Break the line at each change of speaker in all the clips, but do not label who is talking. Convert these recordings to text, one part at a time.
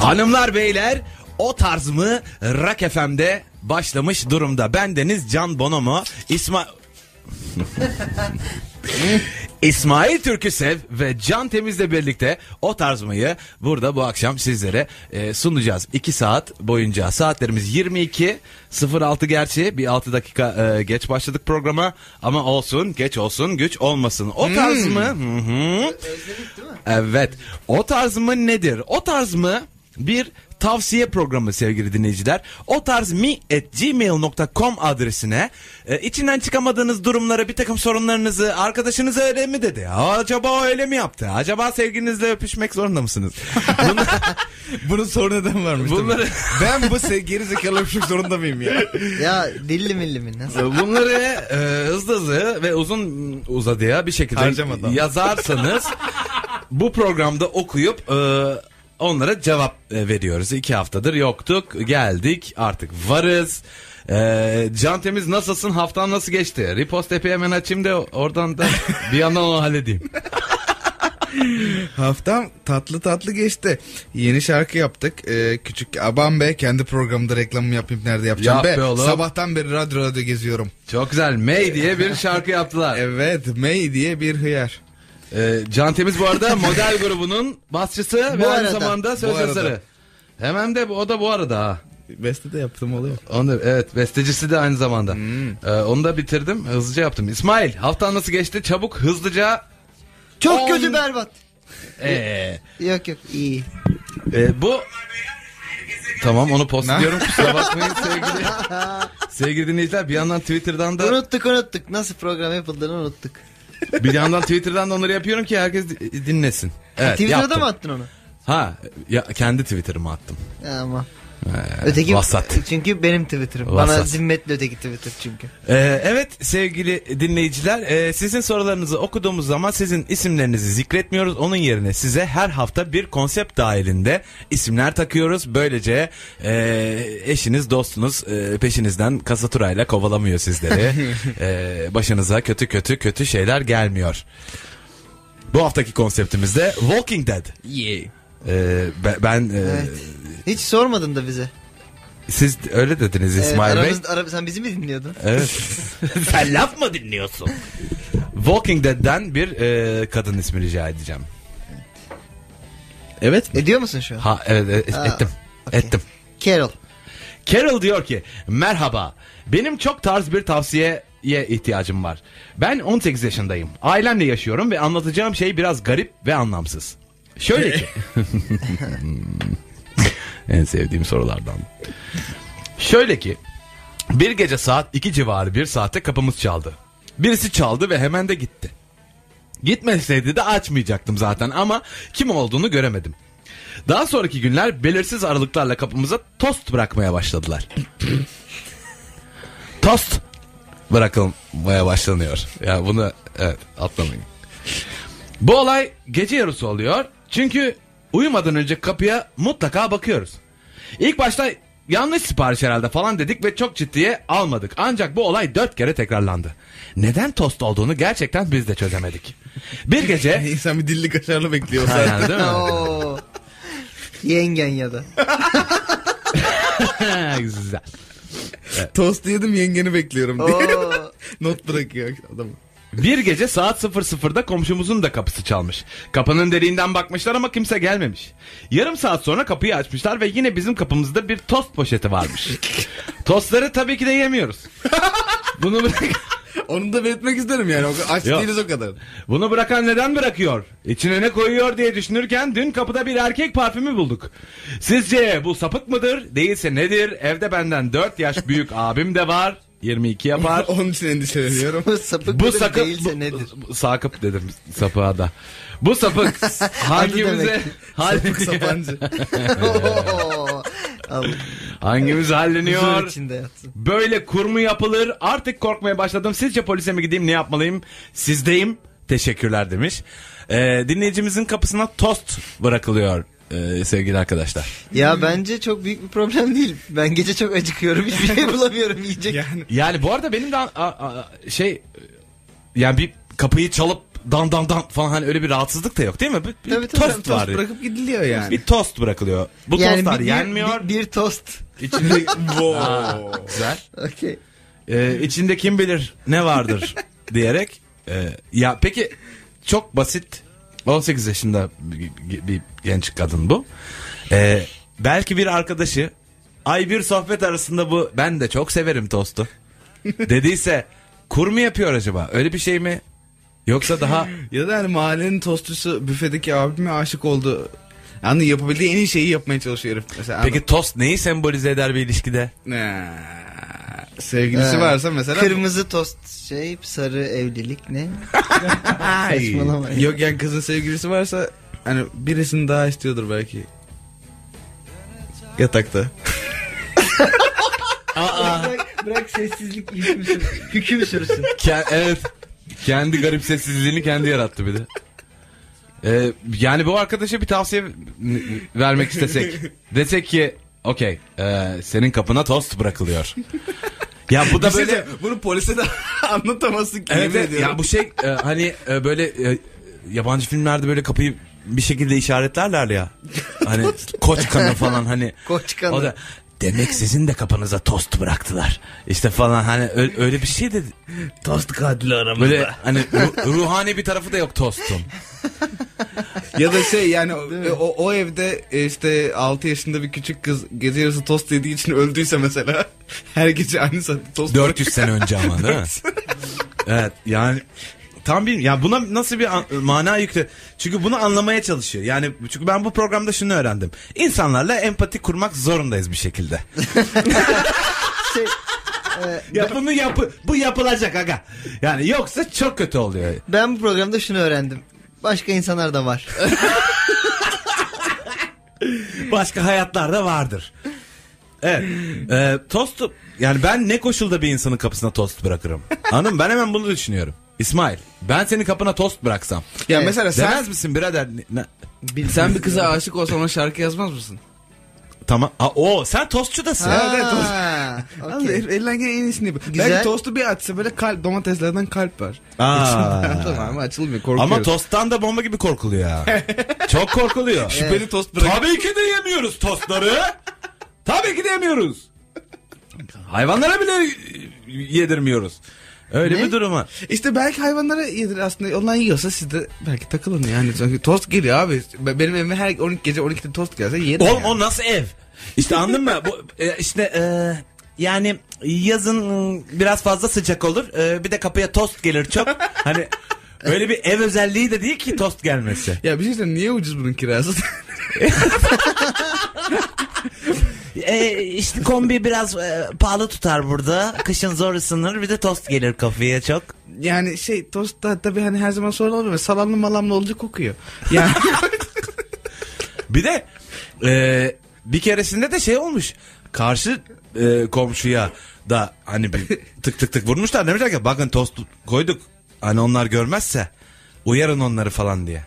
Hanımlar beyler o tarz mı Rock FM'de başlamış durumda. Bendeniz Can Bonomo, İsma... İsmail Türküsev ve Can Temiz'le birlikte o tarzmayı burada bu akşam sizlere e, sunacağız. 2 saat boyunca saatlerimiz 22.06 gerçi bir 6 dakika e, geç başladık programa ama olsun geç olsun güç olmasın. O tarz mı? Hı hı. Evet. O tarz mı nedir? O tarz mı bir tavsiye programı sevgili dinleyiciler. O tarz mi at gmail.com adresine e, içinden çıkamadığınız durumları bir takım sorunlarınızı arkadaşınız öyle mi dedi? Acaba öyle mi yaptı? Acaba sevgilinizle öpüşmek zorunda mısınız? Bunlar,
Bunun sorunu da mı varmış? değil mi?
Bunları-
ben bu se- geri zekalı öpüşmek zorunda mıyım ya?
Ya dilli milli mi? Nasıl?
Ee, bunları e, hızlı hızlı ve uzun uzadıya bir şekilde
Harcamadan.
yazarsanız bu programda okuyup e, onlara cevap e, veriyoruz. İki haftadır yoktuk geldik artık varız. E, Can Temiz nasılsın haftan nasıl geçti? Ripost epi hemen açayım da oradan da bir yandan onu halledeyim.
Haftam tatlı tatlı geçti. Yeni şarkı yaptık. Ee, küçük Aban be kendi programımda reklamımı yapayım nerede yapacağım
Yap
be.
be oğlum.
Sabahtan beri radyo radyo geziyorum.
Çok güzel May diye bir şarkı yaptılar.
Evet May diye bir hıyar.
E, Can Temiz bu arada model grubunun basçısı ve
Bu
aynı
arada,
zamanda söz
bu arada.
yazarı. Hemen de bu, o da bu arada ha.
Beste de yaptım oluyor.
Onu da- evet bestecisi de aynı zamanda.
Hmm.
Ee, onu da bitirdim hızlıca yaptım. İsmail haftan nasıl geçti? Çabuk hızlıca.
Çok
On-
kötü berbat.
Ee,
Yok yok iyi.
e, bu Tamam onu postluyorum kusura bakmayın sevgili. sevgili dinleyiciler bir yandan Twitter'dan da
Unuttuk unuttuk. Nasıl program yapıldığını unuttuk.
bir yandan Twitter'dan da onları yapıyorum ki herkes di- dinlesin. Evet,
E, Twitter'da
yaptım.
mı attın onu?
Ha ya, kendi Twitter'ıma attım.
Ama.
Ee,
Öteki E,
vasat.
çünkü benim Twitter'ım. Bana
Vasat.
zimmetli öteki Twitter çünkü.
Ee, evet sevgili dinleyiciler e, sizin sorularınızı okuduğumuz zaman sizin isimlerinizi zikretmiyoruz. Onun yerine size her hafta bir konsept dahilinde isimler takıyoruz. Böylece e, eşiniz dostunuz e, peşinizden kasaturayla kovalamıyor sizleri. E, başınıza kötü kötü kötü şeyler gelmiyor. Bu haftaki konseptimiz de Walking Dead. E, be- ben e,
Evet. Hiç sormadın da bize.
siz öyle dediniz
Evet,
İsmail Bey.
aramız- ara- sen bizi mi dinliyordun?
Evet. Sen laf mı dinliyorsun? Walking Dead'den bir e, kadın ismi rica edeceğim. Evet
Ediyor E, musun şu an?
Ha evet e-
Ha,
ettim.
okey.
Ettim.
Carol.
Carol diyor ki merhaba benim çok tarz bir tavsiyeye ihtiyacım var. Ben 18 yaşındayım. Ailemle yaşıyorum ve anlatacağım şey biraz garip ve anlamsız. Şöyle ki. en sevdiğim sorulardan. Şöyle ki bir gece saat 2 civarı bir saate kapımız çaldı. Birisi çaldı ve hemen de gitti. Gitmeseydi de açmayacaktım zaten ama kim olduğunu göremedim. Daha sonraki günler belirsiz aralıklarla kapımıza tost bırakmaya başladılar. tost bırakılmaya başlanıyor. Ya bunu evet atlamayın. Bu olay gece yarısı oluyor. Çünkü uyumadan önce kapıya mutlaka bakıyoruz. İlk başta yanlış sipariş herhalde falan dedik ve çok ciddiye almadık. Ancak bu olay dört kere tekrarlandı. Neden tost olduğunu gerçekten biz de çözemedik. Bir gece...
İnsan bir dilli kaşarlı bekliyor zaten.
Aynen, değil mi?
Oo. Yengen ya da.
Güzel.
Tost yedim yengeni bekliyorum diye.
Oo.
Not bırakıyor adam.
Bir gece saat 00'da komşumuzun da kapısı çalmış. Kapının deliğinden bakmışlar ama kimse gelmemiş. Yarım saat sonra kapıyı açmışlar ve yine bizim kapımızda bir tost poşeti varmış. Tostları tabii ki de yemiyoruz. Bunu bırak
Onu da belirtmek isterim yani. O- Aç
Yok.
değiliz o kadar.
Bunu bırakan neden bırakıyor? İçine ne koyuyor diye düşünürken dün kapıda bir erkek parfümü bulduk. Sizce bu sapık mıdır? Değilse nedir? Evde benden 4 yaş büyük abim de var. 22 yapar.
Onun için endişeleniyorum.
Bu sapık
Bu
mıdır
sakıp
değilse
bu-
nedir?
bu- Sakıp dedim sapığa da. Bu sapık hangimize
demek.
hal-
Sapık sapancı.
Oo. Allah.
hangimiz
Huzur
halleniyor?
içinde yatsın.
Böyle kur mu yapılır? Artık korkmaya başladım. Sizce polise mi gideyim? Ne yapmalıyım? Sizdeyim. Teşekkürler demiş. Ee, dinleyicimizin kapısına tost bırakılıyor ee, sevgili arkadaşlar.
Ya bence çok büyük bir problem değil. Ben gece çok acıkıyorum. Hiçbir şey bulamıyorum yiyecek.
yani
Yani bu arada benim de a- a- şey yani bir kapıyı çalıp dan dan dan falan hani öyle bir rahatsızlık da yok değil mi? Bir, bir
Tabii, tabii,
tost
Tost
var.
bırakıp gidiliyor yani.
Bir tost bırakılıyor. Bu tostlar
bir- bir-
yenmiyor.
Bir, bir tost.
İçinde wow. güzel.
Okey.
Ee, içinde kim bilir ne vardır diyerek. e, ya peki çok basit 18 yaşında bir, bir genç kadın bu. Ee, belki bir arkadaşı ay bir sohbet arasında bu ben de çok severim tostu dediyse kur mu yapıyor acaba? Öyle bir şey mi? Yoksa daha
Ya da hani mahallenin tostçusu büfedeki abime aşık oldu. Yani yapabildiği en iyi şeyi yapmaya çalışıyor herif. Mesela
peki tost neyi sembolize eder bir ilişkide?
adam- Ee, sevgilisi
Ee,
varsa mesela
Kırmızı tost şey sarı evlilik ne?
Ay.
Saçmalama.
Yok yani kızın sevgilisi varsa hani birisini daha istiyordur belki. Yatakta.
bırak, bırak sessizlik hüküm, sür, hüküm sürsün.
Ke- evet. Kendi garip sessizliğini kendi yarattı bir de. Ee, yani bu arkadaşa bir tavsiye n- n- vermek istesek. Desek ki okey e, senin kapına tost bırakılıyor. ya bu da böyle...
şey bunu polise de anlatamazsın ki.
Evet, evet. ya bu şey e, hani e, böyle e, yabancı filmlerde böyle kapıyı bir şekilde işaretlerler ya. Hani koç kanı falan hani.
Koç kanı.
O da demek sizin de kapınıza tost bıraktılar. İşte falan hani ö- öyle bir şey de
tost katili aramızda.
Böyle hani ru- ruhani bir tarafı da yok tostun.
ya da şey yani o, o, o evde e, işte 6 yaşında bir küçük kız gece yarısı tost yediği için öldüyse mesela her gece aynı saatte tost
400 sene önce ama değil mi? evet yani tam bir ya buna nasıl bir an- mana yüklü. Çünkü bunu anlamaya çalışıyor. Yani çünkü ben bu programda şunu öğrendim. İnsanlarla empati kurmak zorundayız bir şekilde.
Şey,
ya bunu yapı bu yapılacak aga. Yani yoksa çok kötü oluyor.
ben bu programda şunu öğrendim. Başka insanlar da var.
Başka hayatlarda vardır. Evet. Ee, tostu yani ben ne koşulda bir insanın kapısına tost bırakırım? Hanım ben hemen bunu düşünüyorum. İsmail ben senin kapına tost bıraksam.
Ya
Evet.
mesela sen
Demez misin birader? Ne- ne-
sen bir kıza aşık olsan ona şarkı yazmaz mısın?
Tamam. Aa, o sen tostçudasın.
Ha. evet,
Ha,
Okay.
okey.
Elinden gelen en iyisini yapıyor.
Güzel.
Belki tostu bir açsa böyle kalp, domateslerden kalp var.
Aa.
İçinden tamam açılmıyor korkuyoruz.
Ama tosttan da bomba gibi korkuluyor ya. Çok korkuluyor.
Şüpheli tost bırak.
Tabii ki de yemiyoruz tostları. Tabii ki de yemiyoruz. Hayvanlara bile yedirmiyoruz. Öyle
Ne?
bir durum var.
İşte belki hayvanlara yedir aslında. Onlar yiyorsa siz de belki takılın yani. Çünkü tost geliyor abi. Be- Benim evime her 12 gece 12'de tost gelse yerim.
Oğlum
yani.
o nasıl ev? İşte anladın mı? Bu, e, işte e, yani yazın mm, biraz fazla sıcak olur. E, bir de kapıya tost gelir çok. Hani öyle bir ev özelliği de değil ki tost gelmesi.
Ya bir şey söyleyeyim niye ucuz bunun kirası?
E, işte kombi biraz e, pahalı tutar burada. Kışın zor ısınır. Bir de tost gelir kafaya çok.
yani şey tost da tabii hani her zaman sorun olmuyor. Salamlı malamlı olunca kokuyor. Yani
Bir de e, bir keresinde de şey olmuş. Karşı e, komşuya da hani bir tık tık tık vurmuşlar. Demişler ki bakın tost koyduk. Hani onlar görmezse uyarın onları falan diye.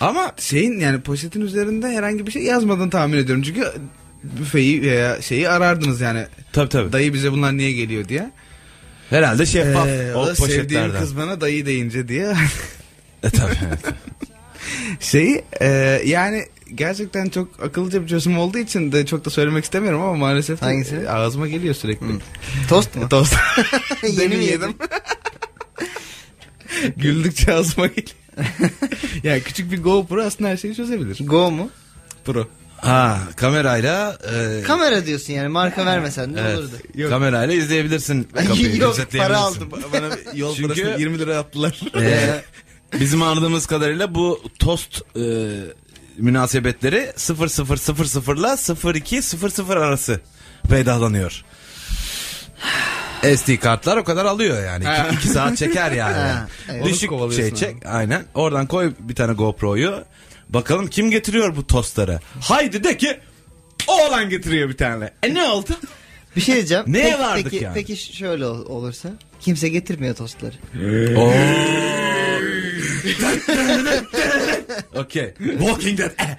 Ama
şeyin yani poşetin üzerinde herhangi bir şey yazmadan tahmin ediyorum. Çünkü büfeyi veya şeyi arardınız yani.
tabii tabii.
Dayı bize bunlar niye geliyor diye.
Herhalde şeffaf
Ee,
E,
o
o
da sevdiğim
poşetlerden.
kız bana dayı deyince diye.
E, tabii, evet.
Şeyi e, yani gerçekten çok akıllıca bir çözüm olduğu için de çok da söylemek istemiyorum ama maalesef de,
Hangisi?
e, ağzıma geliyor sürekli.
Hmm.
Tost mu?
Tost.
Yeni
Demin
mi
yedim. Güldükçe ağzıma geliyor. yani küçük bir GoPro aslında her şeyi çözebilir.
Go mu?
Pro.
Ha kamerayla e,
Kamera diyorsun yani marka vermesen ne
evet,
olurdu?
kamerayla izleyebilirsin kapıyı.
Yok para
gözetleyebilirsin.
aldım.
Bana yol
Çünkü-
parasını 20 lira attılar.
Ee, bizim anladığımız kadarıyla bu tost e, münasebetleri 0000 ile 0200 arası peydahlanıyor. SD kartlar o kadar alıyor yani.
Ha.
2 saat çeker yani.
Ha, evet.
Düşük
Onu kovalıyorsun
şey
abi.
çek. Aynen. Oradan koy bir tane GoPro'yu. Bakalım kim getiriyor bu tostları. Haydi de ki oğlan getiriyor bir tane. E ne oldu?
Bir şey diyeceğim.
Neye
Peki-
vardık
peki,
yani?
Peki şöyle ol- olursa kimse getirmiyor tostları.
Oo. Okey. Walking Dead. Eh.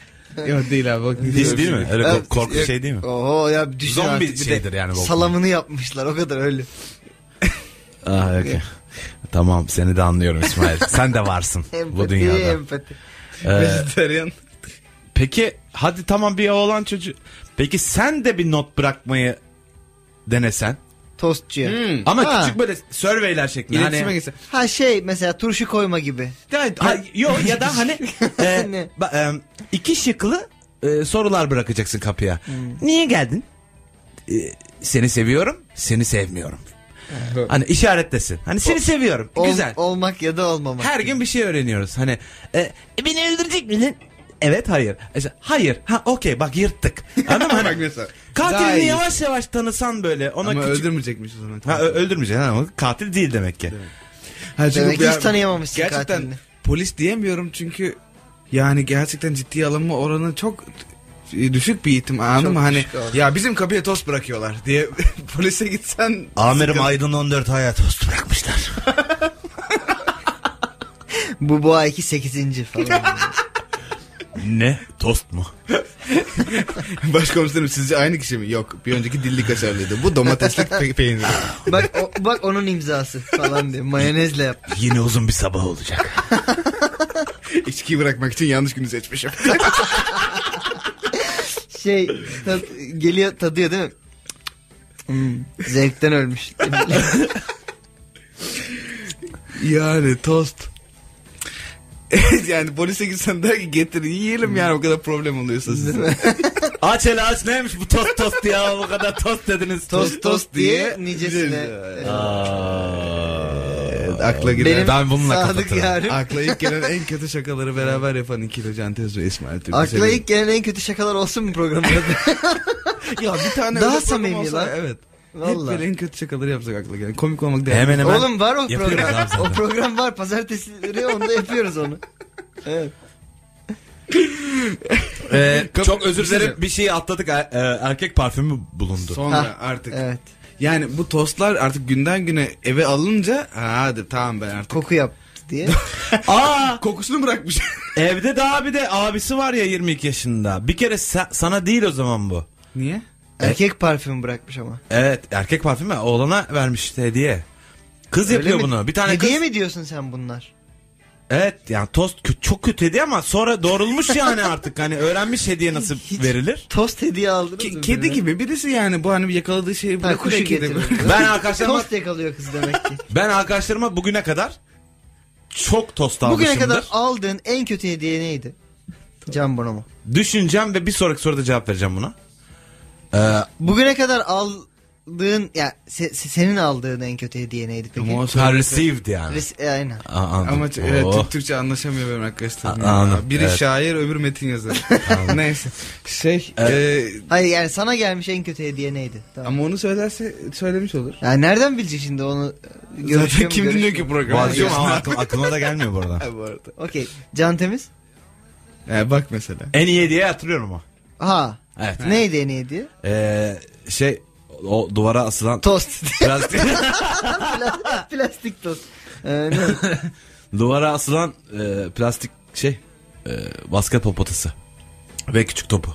Yok değil abi bak.
Hiç değil mi? Öyle kork- korku
Yok.
şey değil mi?
Oho ya düşün
Zombi
artık bir de
şeydir yani bu.
Salamını yapmışlar o kadar öyle.
Ah, okey. Tamam seni de anlıyorum İsmail. Sen de varsın bu
Empati,
dünyada.
empati.
Ee,
Vejetaryen.
peki hadi tamam bir oğlan çocuğu. Peki sen de bir not bırakmayı denesen.
Tostçuya.
Ama
Ha.
küçük böyle surveyler şeklinde.
İletişime
Hani,
gitsin.
Ha şey mesela turşu koyma gibi.
ya, ha, yo, ya da hani e,
Ne?
ba- e, iki şıklı e, sorular bırakacaksın kapıya.
Hmm.
Niye geldin? E, seni seviyorum, seni sevmiyorum. Hani işaretlesin. Hani seni seviyorum.
Ol-
Güzel.
Olmak ya da olmamak.
Her gün bir şey öğreniyoruz. Hani e, beni öldürecek misin? Evet hayır. İşte, hayır. Ha okey bak yırttık. Anladın mı?
Bak
Hani,
mesela. Daha
katilini
iyi.
yavaş yavaş tanısan böyle ona
Ama
küçük...
öldürmeyecekmiş o zaman.
Ha, ö- öldürmeyeceksin ha, ama katil değil demek ki.
Ha, çünkü
Demek
bu
hiç
ya-
tanıyamamışsın
Gerçekten
katilini.
polis diyemiyorum çünkü yani gerçekten ciddiye alınma oranı çok e, düşük bir ihtim anladın
Çok
mı? Hani
düşük oran.
ya bizim kapıya toz bırakıyorlar diye polise gitsen
Amirim Aydın 14 hayat tost bırakmışlar.
Bu bu ayki 8. falan.
ne? Tost mu?
başkomiserim sizce aynı kişi mi? Yok bir önceki dilli kaşarlıydı. Bu domateslik pe- peynir.
bak o- bak onun imzası falan diye mayonezle yap.
Yine uzun bir sabah olacak.
İçkiyi bırakmak için yanlış günü seçmişim.
Şey tad- geliyor tadıyor değil mi? Hmm, zevkten ölmüş.
yani tost. yani polise gitsen der ki getirin yiyelim yani o kadar problem oluyorsa size.
aç hele aç neymiş bu tost tost ya bu kadar tost dediniz.
tost tost diye
Nicesine.
nicesine.
Evet, akla girer.
Benim
Ben bununla
sadık
kapatırım.
yarim.
Akla ilk gelen en kötü şakaları beraber yapan ikili Cantes ve İsmail Türk'ü
Akla
seviyorum.
ilk gelen en kötü şakalar olsun mu programda?
ya bir tane
Daha
öyle program
samimi
olsa-
lan.
Evet.
Vallahi.
Hep böyle en kötü şakaları yapsak akla gelen. Komik olmak değil.
Hemen hemen.
Oğlum var o
yapıyoruz
program.
abi zaten.
O program var. Pazartesileri onda yapıyoruz onu. Evet.
Ee,
Kap-
çok özür
bir şey
dilerim bir şeyi atladık. Er- e, erkek parfümü bulundu.
Sonra
Ha,
artık.
Evet.
Yani bu tostlar artık günden güne eve alınca "Ha, hadi tamam ben artık.
Koku yap diye.
Aa
Kokusunu bırakmış.
evde de abi de abisi var ya 22 yaşında. Bir kere sa- sana değil o zaman bu.
Niye?
E?
Erkek parfüm bırakmış ama.
Evet erkek parfümü oğlana vermiş hediye. Kız
Öyle
yapıyor
mi?
bunu. Bir tane
Hediye
kız.
mi diyorsun sen bunlar?
Evet yani tost kö- çok kötü hediye ama sonra doğrulmuş yani artık. Hani öğrenmiş hediye nasıl
Hiç-
verilir.
Tost hediye aldınız
Ki-
mı?
kedi
birine?
gibi birisi yani bu hani yakaladığı şeyi
Ha,
bırakır ya
kuşu
kedi.
getiriyor.
Ben arkadaşlarıma
Tost yakalıyor kız demek ki.
ben arkadaşlarıma bugüne kadar çok tost almışımdır.
Bugüne kadar aldığın en kötü hediye neydi? Can Bonomo.
Düşüneceğim ve bir sonraki soruda cevap vereceğim buna. Ee,
Bugüne kadar aldığın ya se- se- senin aldığın en kötü hediye neydi peki?
Ama o
Ha,
sonra-
received yani.
Res- e, aynen.
Aa, anladım.
Ama ç- evet,
Oo.
Türk- Türkçe anlaşamıyor benim arkadaşlarım.
A-
ya.
anladım,
Biri
evet.
şair öbürü metin yazar. Neyse. Şey e,
Hayır yani sana gelmiş en kötü hediye neydi? Tamam.
ama onu söylerse söylemiş olur.
Ya nereden bilecek şimdi onu? e, Görüşüyor
Zaten
mu,
kim dinliyor
görüşmüyor
ki
mu?
programı?
Vazgeçtim ama
Ha,
aklı- aklıma da gelmiyor bu arada.
bu arada.
Okey. Can Temiz?
Ha, bak mesela.
En iyi hediye hatırlıyorum ama.
Ha.
Evet.
Neydi en iyi hediye?
Ee, şey o duvara asılan
Tost.
biraz
Pla- Plastik tost. Ee, ne?
duvara asılan e, plastik şey e, basketbol potası ve küçük topu.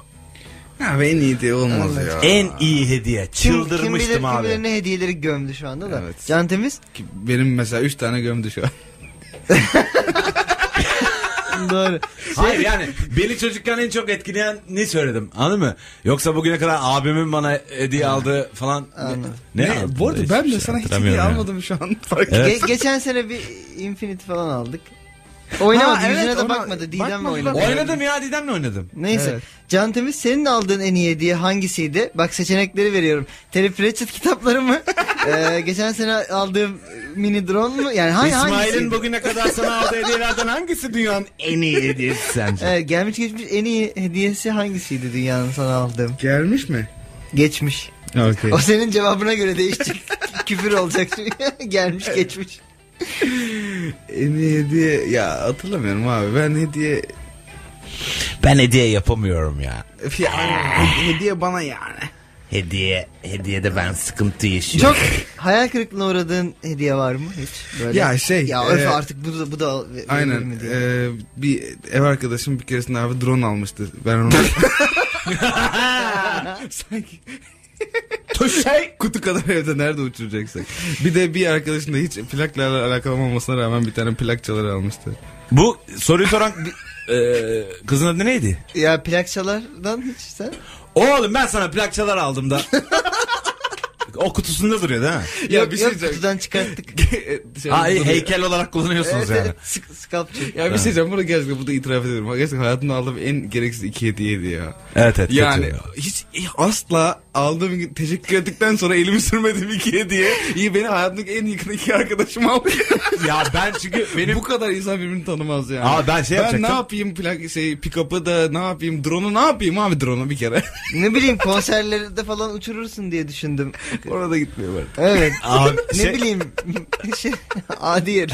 Ha, ve en iyi diye olmaz ya.
En iyi hediye.
Kim,
Çıldırmıştım
kim bilir kim
abi.
bilir ne hediyeleri gömdü şu anda da.
Evet.
Can Temiz?
Ki Benim mesela 3 tane gömdü şu an.
Doğru.
Hayır
Şey-
yani beni çocukken en çok etkileyen ne söyledim anladın mı? Yoksa bugüne kadar abimin bana hediye aldığı falan.
Anladım.
aldın
Bu
da
arada
hiçbir
ben de
şey
sana hiç
hatırlamıyorum
hediye
yani.
almadım şu an. Fark
Evet.
Ge- geçen sene bir Infinity falan aldık. Oynamadı
Ha, evet,
yüzüne de
ona-
bakmadı. Didem'le
bakmadı,
oynadı.
bakmadı.
Oynadım ya Didem'le oynadım.
Neyse.
Evet.
Can Temiz senin aldığın en iyi hediye hangisiydi? Bak seçenekleri veriyorum. Terry Pratchett kitapları mı? Ee, geçen sene aldığım mini drone mu? Yani hangi,
İsmail'in
hangisiydi?
bugüne kadar sana aldığı hediyelerden hangisi dünyanın en iyi hediyesi sence?
Ee, gelmiş geçmiş en iyi hediyesi hangisiydi dünyanın sana aldığım?
Gelmiş mi?
Geçmiş.
Okey.
O senin cevabına göre değişecek. Küfür olacak. çünkü. gelmiş geçmiş.
En iyi hediye ya hatırlamıyorum abi. Ben hediye
Ben hediye yapamıyorum ya.
Öf ya,
Ah.
he- hediye bana yani.
Hediye, hediyede ben sıkıntı yaşıyorum.
Çok hayal kırıklığına uğradığın hediye var mı hiç? Böyle,
Ya şey,
Ya öf
e,
artık bu da, bu da verilir
Aynen.
mi diye.
Ee, bir ev arkadaşım bir keresinde abi drone almıştı. Ben onu o şey kutu kadar evde nerede uçuracaksak. Bir de bir arkadaşım da hiç plaklarla alakalı olmamasına rağmen bir tane plak çaları almıştı.
Bu soruyu soran eee, kızın adı neydi?
e,
Ya plakçalardan hiç sen.
Oğlum ben sana plakçalar aldım da. o kutusunda duruyor değil mi?
Ya
yok,
bir şey
yok,
diyeceğim.
kutudan çıkarttık.
Şey
Hayır
duruyor.
heykel olarak kullanıyorsunuz
evet,
yani.
evet, sk- sculpture.
Ya bir şey diyeceğim bunu gerçekten burada itiraf ediyorum. Gerçekten hayatımda aldığım en gereksiz iki hediyeydi ya.
Evet evet.
Yani
kötü.
hiç asla aldığım gün teşekkür ettikten sonra elimi sürmedim iki hediye. İyi beni hayatımdaki en yakın iki arkadaşım almış.
ya ben çünkü benim
Bu kadar insan birbirini tanımaz yani.
Aa, ben şey
Ben
yapacaktım.
ne yapayım plak şey pick-up'ı da ne yapayım drone'u ne yapayım abi drone'u bir kere.
ne bileyim konserlerde falan uçurursun diye düşündüm.
Orada gitmiyor böyle.
Evet.
Abi,
ne
şey-
bileyim. şey, adi yer.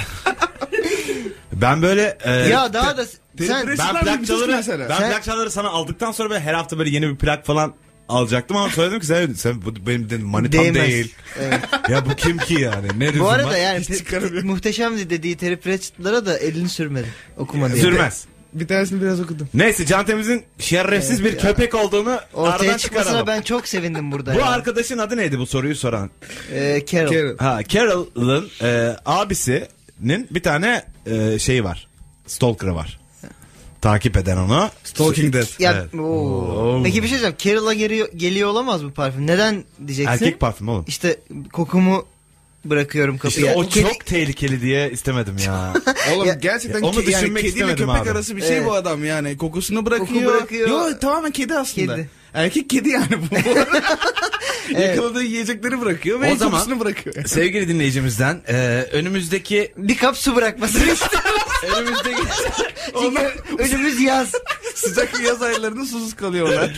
ben böyle e, eee,
ya daha da sen
Telefon-
ben
Resimler
plakçaları
bir
ben
mesela.
şey Sen-
plakçaları sana aldıktan sonra böyle her hafta böyle yeni bir plak falan alacaktım ama söyledim ki sen, sen bu benim dedim
Hani
manitam
Değmez.
değil.
Evet.
ya bu kim ki yani? Ne lüzum
Bu
var?
arada yani
hiç
pe-
çıkaramıyorum.
muhteşemdi dediği Terry Pratchett'lara da elini sürmedi. Okuma diye.
Sürmez.
Bir tanesini biraz okudum.
Neyse Can Temiz'in şerefsiz bir köpek olduğunu aradan
Ortaya çıkmasına
çıkaralım.
ben çok sevindim burada.
Bu
ya.
arkadaşın adı neydi bu soruyu soran?
Ee, Carol.
Carol.
Ha Carol'ın e, abisinin bir tane e, şeyi var. Stalker'ı var. Takip eden onu.
Stalking Dead.
Ya,
Evet.
oo.
Oo.
Peki bir şey diyeceğim. Carol'a geliyor, geliyor olamaz bu parfüm. Neden diyeceksin?
Erkek parfüm oğlum.
İşte kokumu bırakıyorum
İşte
kapıya.
o
Kedi-
çok tehlikeli diye istemedim ya.
Oğlum
Ya-
gerçekten
Ya onu
ke- yani
düşünmek
kediyle
istemedim
köpek
abi.
arası bir şey
Evet.
bu adam yani. Kokusunu bırakıyor.
bırakıyor.
Yo tamamen kedi aslında.
Kedi.
Erkek kedi yani bu. Yakaladığı yiyecekleri bırakıyor ve
O zaman-
kokusunu bırakıyor.
Sevgili dinleyicimizden e, önümüzdeki
Bir kap su bırakmasını istiyorum.
önümüzdeki
Onlar
Önümüz yaz.
sıcak yaz aylarında susuz kalıyorlar.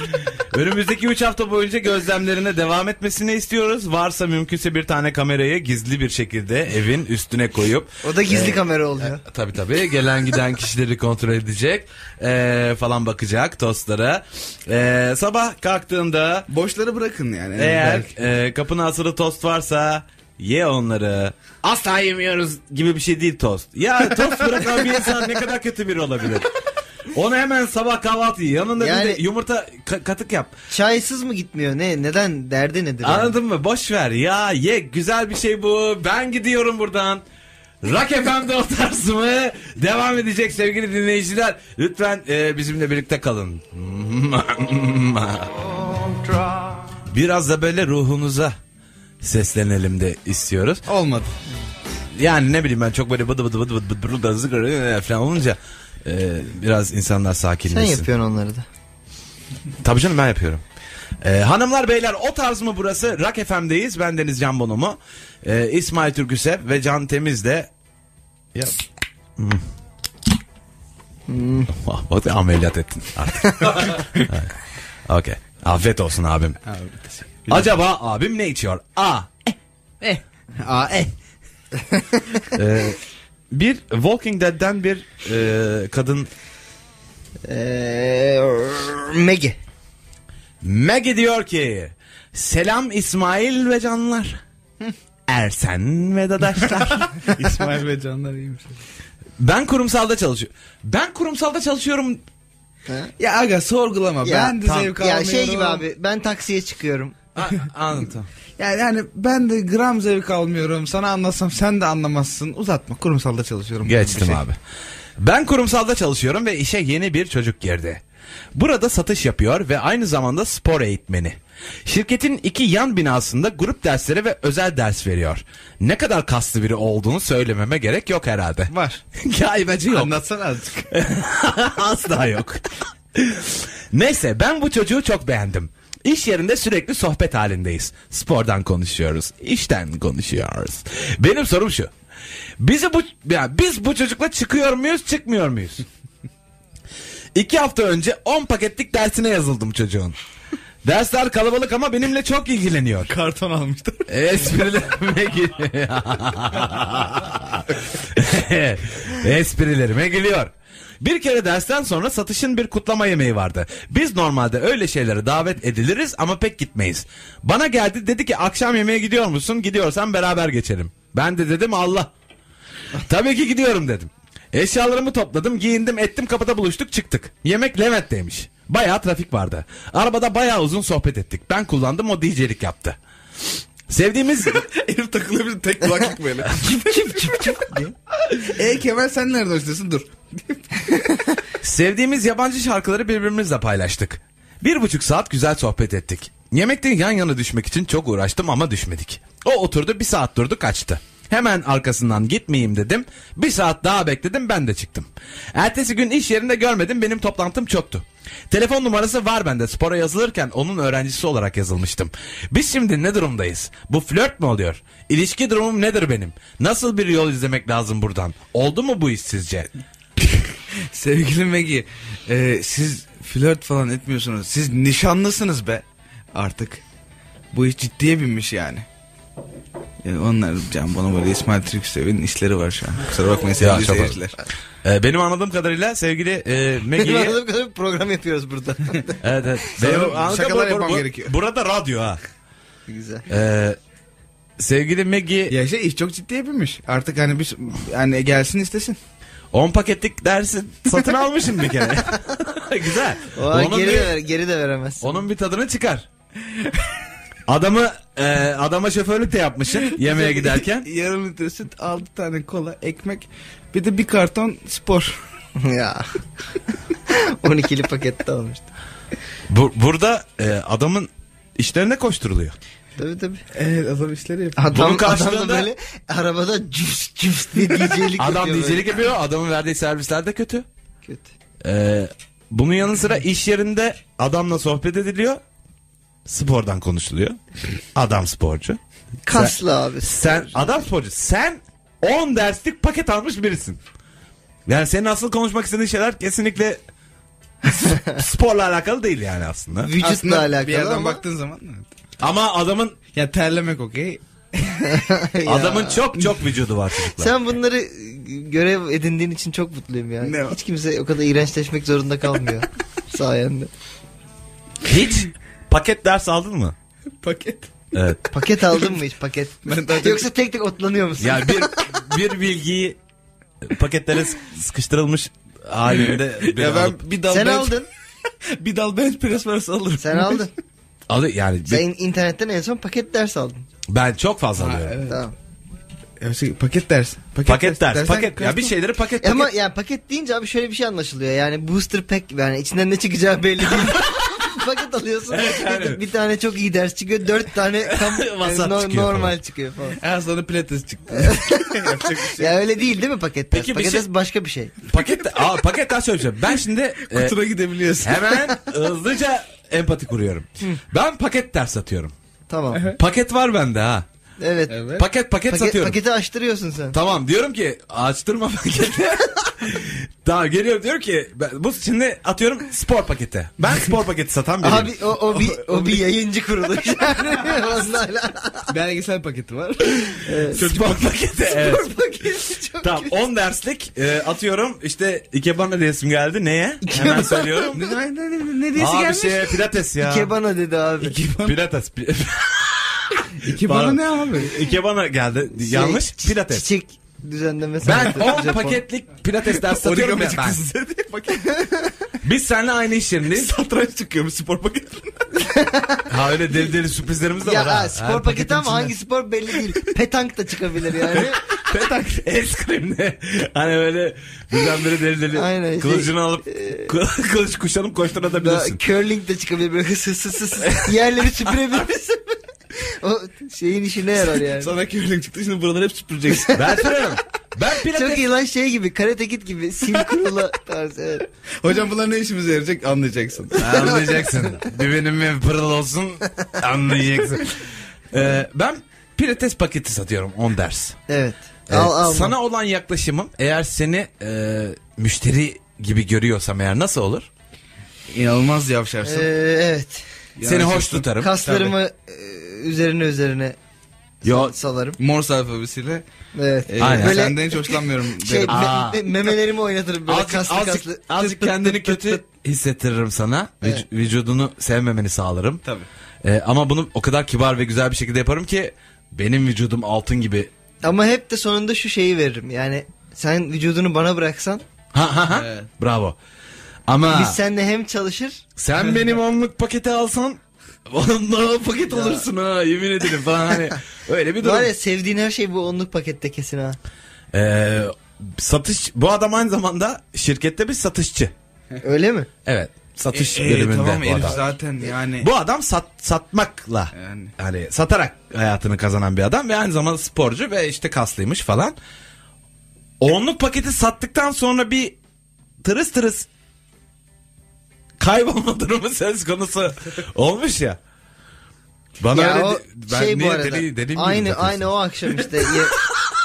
önümüzdeki 3 hafta boyunca gözlemlerine devam etmesini istiyoruz. Varsa mümkünse bir tane kamerayı gizli bir şekilde evin üstüne koyup
O da gizli kamera oluyor.
Tabii tabii. Gelen giden kişileri kontrol edecek. Ee, falan bakacak tostlara. Ee, sabah kalktığında
Boşları bırakın yani.
eğer
Belki.
e, kapına asılı tost varsa ye onları. Asla yemiyoruz gibi bir şey değil tost. Ya tost bırakan bir insan ne kadar kötü biri olabilir. Onu hemen sabah kahvaltı ye. yanında bir
Yani-
de yumurta ka- katık yap.
Çaysız mı gitmiyor? Ne? Neden? Derdi nedir? yani?
Anladın mı? Boş ver ya ye güzel bir şey bu. Ben gidiyorum buradan. Rock FM'de o tarz mı? Devam edecek sevgili dinleyiciler. Lütfen e, bizimle birlikte kalın. Biraz da böyle ruhunuza seslenelim de istiyoruz.
Olmadı.
Yani ne bileyim ben çok böyle bıdı bıdı bıdı bıdı bıdı bıdı zıgırı falan olunca e, biraz insanlar
Sen
sakinleşsin.
yapıyorsun onları da.
Tabii canım ben yapıyorum. Ee, hanımlar beyler o tarz mı burası? Rock FM'deyiz. Ben Deniz Can Bonomo. Ee, İsmail Türküsev ve Can Temiz de... Ya... Hmm. Ah, Bak ameliyat ettin artık. Evet. Okey. Afiyet olsun abim. Acaba abim ne içiyor? A.
Aa, eh.
Ee, bir Walking Dead'den bir e, kadın
Ee, Maggie.
Maggie diyor ki Selam İsmail ve canlar. Ersen ve dadaşlar.
İsmail ve Canlar iyiymiş.
Ben kurumsalda çalışıyorum. Ben kurumsalda çalışıyorum.
Ha?
Ya aga sorgulama.
Ya,
ben de
tam-
zevk
Ya
almıyorum.
şey gibi abi ben taksiye çıkıyorum.
Anladım.
Yani, yani ben de gram zevk almıyorum. Sana anlatsam sen de anlamazsın. Uzatma. Kurumsalda çalışıyorum.
Geçtim
Bir şey.
abi. Ben kurumsalda çalışıyorum ve işe yeni bir çocuk girdi. Burada satış yapıyor ve aynı zamanda spor eğitmeni. Şirketin iki yan binasında grup dersleri ve özel ders veriyor. Ne kadar kaslı biri olduğunu söylememe gerek yok herhalde.
Var.
Gaybacı yok.
Anlatsana azıcık.
Asla yok. Neyse ben bu çocuğu çok beğendim. İş yerinde sürekli sohbet halindeyiz. Spordan konuşuyoruz, işten konuşuyoruz. Benim sorum şu. Bizi bu ya biz bu çocukla çıkıyor muyuz, çıkmıyor muyuz? İki hafta önce 10 paketlik dersine yazıldım çocuğun. Dersler kalabalık ama benimle çok ilgileniyor.
Karton almıştım.
Esprilerime gülüyor. Esprilerime gülüyor. Bir kere dersten sonra satışın bir kutlama yemeği vardı. Biz normalde öyle şeylere davet ediliriz ama pek gitmeyiz. Bana geldi dedi ki akşam yemeğe gidiyor musun? Gidiyorsan beraber geçelim. Ben de dedim Allah. Tabii ki gidiyorum dedim. Eşyalarımı topladım, giyindim, ettim, kapıda buluştuk, çıktık. Yemek Levent'teymiş. Bayağı trafik vardı. Arabada bayağı uzun sohbet ettik. Ben kullandım, o DJ'lik yaptı. Sevdiğimiz
Herif takılabilir tek kulaklık böyle.
Çıp çıp çıp çıp diye.
e Kemal sen nerede hoşlanıyorsun? Dur.
Sevdiğimiz yabancı şarkıları birbirimizle paylaştık. Bir buçuk saat güzel sohbet ettik. Yemekten yan yana düşmek için çok uğraştım ama düşmedik. O oturdu bir saat durdu kaçtı. Hemen arkasından gitmeyeyim dedim. Bir saat daha bekledim ben de çıktım. Ertesi gün iş yerinde görmedim benim toplantım çoktu. Telefon numarası var bende spora yazılırken onun öğrencisi olarak yazılmıştım. Biz şimdi ne durumdayız? Bu flört mü oluyor? İlişki durumum nedir benim? Nasıl bir yol izlemek lazım buradan? Oldu mu bu iş sizce?
Sevgili Megi, e, siz flört falan etmiyorsunuz. Siz nişanlısınız be artık. Bu iş ciddiye binmiş yani. Ya onlar Can Bonomo ile İsmail Türksevi'nin işleri var şu an. Kusura bakmayın sevgili
çok
seyirciler.
Ee, benim anladığım kadarıyla sevgili e,
Benim
Maggie'yi...
anladığım kadarıyla program yapıyoruz burada.
evet, evet.
Sanırım
Benim anladığım
şakalar
kadarıyla
yapmam gerekiyor.
Burada radyo ha.
Güzel.
Ee, sevgili Maggie
Ya şey iş çok ciddiye binmiş. Artık hani biz yani gelsin istesin.
10 paketlik dersin satın almışım bir kere. Güzel.
O an
onun,
geri,
bir,
de ver, geri de veremezsin.
onun bir tadını çıkar. Adamı e, adama şoförlük de yapmışsın yemeğe giderken.
Yarım litre süt, 6 tane kola, ekmek, bir de bir karton spor.
ya. 12'li pakette almıştım.
Bu- burada e, adamın işlerine koşturuluyor.
Tabii tabii.
Evet adam işleri yapıyor.
Adam, adam
karşılığında-
da böyle arabada cüps cüps diye DJ'lik
Adam
yapıyor böyle.
DJ'lik yapıyor adamın verdiği servisler de kötü.
Kötü.
Ee, bunun yanı sıra iş yerinde adamla sohbet ediliyor. Spordan konuşuluyor. Adam sporcu.
Kaslı abi.
Sen adam sporcu. Sen 10 derslik paket almış birisin. Yani senin asıl konuşmak istediğin şeyler kesinlikle s- sporla alakalı değil yani aslında.
Vücutla
Aslında
alakalı
bir yerden
ama.
baktığın zaman evet.
Ama adamın
ya terlemek okey.
Ya.
adamın çok çok vücudu var çocuklar.
Sen bunları görev edindiğin için çok mutluyum ya.
Ne o?
Hiç kimse o kadar iğrençleşmek zorunda kalmıyor. sayende.
Hiç paket ders aldın mı?
Paket.
Evet.
Paket aldın mı hiç paket?
Ben daha çok-
Yoksa tek tek otlanıyor musun?
Ya bir bir bilgiyi paketlere sık- sıkıştırılmış halinde biri
Ya
alıp-
ben bir dal
sen
bench,
aldın.
bir dal bench press varsa alırım.
Sen aldın.
Alı- yani bir-
sen internetten en son paket ders aldın.
Ben çok fazla
Ha,
alıyorum.
evet.
Tamam.
Ya şey, paket ders.
Paket ders,
Dersen
paket ya bir şey- şeyleri paket.
Ama
paket.
yani paket deyince abi şöyle bir şey anlaşılıyor. Yani booster pack yani içinden ne çıkacağı belli değil. paket alıyorsun.
Evet, yani.
Bir tane çok iyi ders çıkıyor. Dört tane tam e,
Vasat
no-
çıkıyor
normal
falan.
çıkıyor falan.
En sonra pilates çıktı. Yapacak bir şey.
Ya öyle değil değil mi paket ders?
Peki bir
paket
şey-
ders başka bir şey.
paket de- Aa, paket daha şöyle bir şey. Ben şimdi e,
Kutura gidebiliyorsun.
hemen hızlıca empati kuruyorum. Ben paket ders satıyorum.
Tamam.
Evet.
Paket var bende ha.
Evet.
Evet.
Paket paket
Paket-
satıyorum.
paketi açtırıyorsun sen.
Tamam diyorum ki açtırma paketi. tamam geliyorum diyor ki ben- bu şimdi atıyorum spor paketi. Ben spor paketi satan biriyim.
Abi o, o, bir, o, bir yayıncı kuruluş. Yani onlarla-
Belgesel paketi var.
spor paketi. evet.
paketi çok
Tamam 10 derslik e, atıyorum işte Ikebana diyesim geldi. Neye? Hemen söylüyorum.
ne, ne, ne, ne, ne diyesi
Aa bir
gelmiş?
şey pilates ya.
Kebana dedi abi.
Pilates. pi-
İki bana
Pardon.
ne abi?
Ikebana geldi.
Şey,
Yanlış.
çi-
Pilates.
Çiçek düzenleme
Ben
sanatı,
10
Japon.
paketlik pilates dersi satıyorum ya
Origami
ben.
kız dedi. Paket.
Biz seninle aynı iş yerindeyiz.
Satranç çıkıyorum spor paketinden.
ha öyle deli deli sürprizlerimiz de var
Ya
ha.
ha, spor paketi ama hangi spor belli değil. Petank da çıkabilir yani.
Petak eskrimle. Hani böyle birdenbire deli deli
Aynen, şey- e-
kılıcını alıp kı- kılıç kuşanıp
da,
koşturabilirsin.
curling de çıkabilir böyle hıs hıs hıs hıs hıs. yerleri süpürebilirsin. o şeyin işine yarar yani.
Sana körlük çıktı şimdi buraları hep süpüreceksin.
ben söylüyorum. Ben
Çok
pilates
iyi lan şey gibi karate kid gibi sim kurula tarzı. Evet.
Hocam bunlar ne işimize yarayacak anlayacaksın.
Anlayacaksın. Düğmenim mi pırıl olsun anlayacaksın. Ee, ben pilates paketi satıyorum 10 ders.
evet.
Ee,
al al.
sana olan yaklaşımım eğer seni e, müşteri gibi görüyorsam eğer nasıl olur?
İnanılmaz yavşarsın.
Ee, evet.
seni hoş
Yavşarsın.
tutarım.
Kaslarımı e, üzerine üzerine
Yo, Ee,
salarım.
Morse alfabesiyle.
Evet.
E,
Aynen.
Böyle-
Senden hiç hoşlanmıyorum.
Şey,
derim.
Aa.
me- me- memelerimi oynatırım böyle
azıcık,
kaslı
azıcık,
kaslı.
azıcık kendini kötü hissettiririm sana. Vüc-
Evet.
Vücudunu sevmemeni sağlarım.
Tabii.
Ee, ama bunu o kadar kibar ve güzel bir şekilde yaparım ki benim vücudum altın gibi.
Ama hep de sonunda şu şeyi veririm. Yani sen vücudunu bana bıraksan
Ha ha ha.
Evet.
Bravo. Ama
biz seninle hem çalışır
sen benim onluk paketi alsan Ondan paket olursun ha yemin ederim falan hani öyle bir durum.
Var ya sevdiğin her şey bu onluk pakette kesin ha.
Ee, satış bu adam aynı zamanda şirkette bir satışçı.
Öyle mi?
Evet. Satış
E, e,
bölümünde
tamam
bu
herif
adam.
zaten yani.
Bu adam sat, satmakla hani- yani.
Yani.
satarak hayatını kazanan bir adam ve aynı zamanda sporcu ve işte kaslıymış falan. Onluk paketi sattıktan sonra bir tırıs tırıs kaybolma durumu söz konusu olmuş ya. Bana öyle
ya o
de- ben
şey bu
niye
arada.
deli, deli miyim
aynı
zaten?
aynı o akşam işte. ye-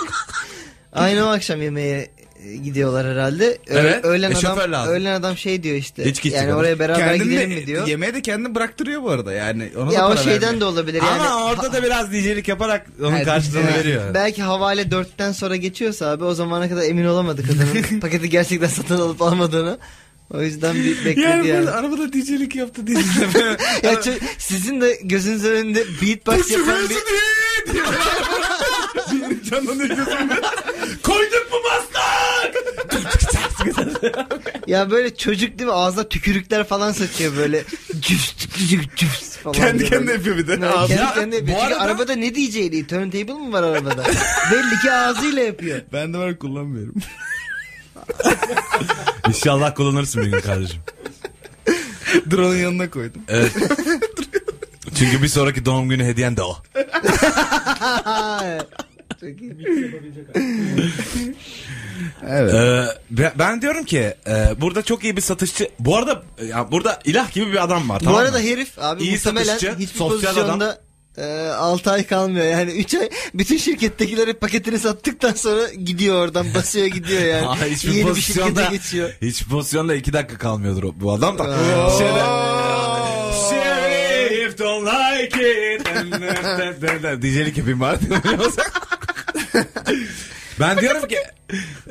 aynı o akşam yemeğe e, gidiyorlar herhalde. Ö-
Evet,
Öğlen
e, şoför
adam
lazım.
öğlen adam şey diyor işte.
Hiç gitsin
yani
olur.
oraya beraber
Kendini
gidelim
de-
mi diyor.
Yemeği de kendini bıraktırıyor bu arada yani. Ona da
ya o
para
şeyden
vermiyor.
de olabilir yani.
Ama orada da biraz DJ'lik yaparak onun
Ha,
karşılığını
evet.
veriyor.
Belki havale dörtten sonra geçiyorsa abi o zamana kadar emin olamadık adamın paketi gerçekten satın alıp almadığını. O yüzden bir bekledi yani.
Yani, burada arabada DJ'lik yaptı diye.
Ya çö- sizin de gözünüz önünde beatbox yapan bir...
Canlanıyor gözümde.
Koyduk mu maslak?
Ya böyle çocuk değil mi ağzına tükürükler falan saçıyor böyle. Cüps cüps cüps falan.
Kendi
diyor
kendine
böyle.
yapıyor bir de.
Ya
Ağzı-
Ya,
kendi kendine yapıyor.
bu
Çünkü
arada-
arabada ne diyeceğini turntable mı var arabada? Belli ki ağzıyla yapıyor.
Ben de var kullanmıyorum.
İnşallah kullanırsın bir gün kardeşim.
Drone'un yanına koydum.
Evet. Çünkü bir sonraki doğum günü hediyen de o.
Çok iyi.
Evet.
Ee, ben- ben diyorum ki e, burada çok iyi bir satışçı. Bu arada ya burada ilah gibi bir adam var.
Bu
tamam
arada
mı?
herif abi
İyi
muhtemelen
satışçı,
hiçbir
sosyal
pozisyonda e, 6 ay kalmıyor. Yani 3 ay bütün şirkettekileri paketini sattıktan sonra gidiyor oradan basıyor gidiyor yani.
Aa, hiçbir
Ee, Yeni bir şirkete
pozisyonda
geçiyor.
hiç pozisyonda iki dakika kalmıyordur o- bu adam da.
Aa.
Şerif don't like it. Dijelik yapayım bari. ben diyorum ki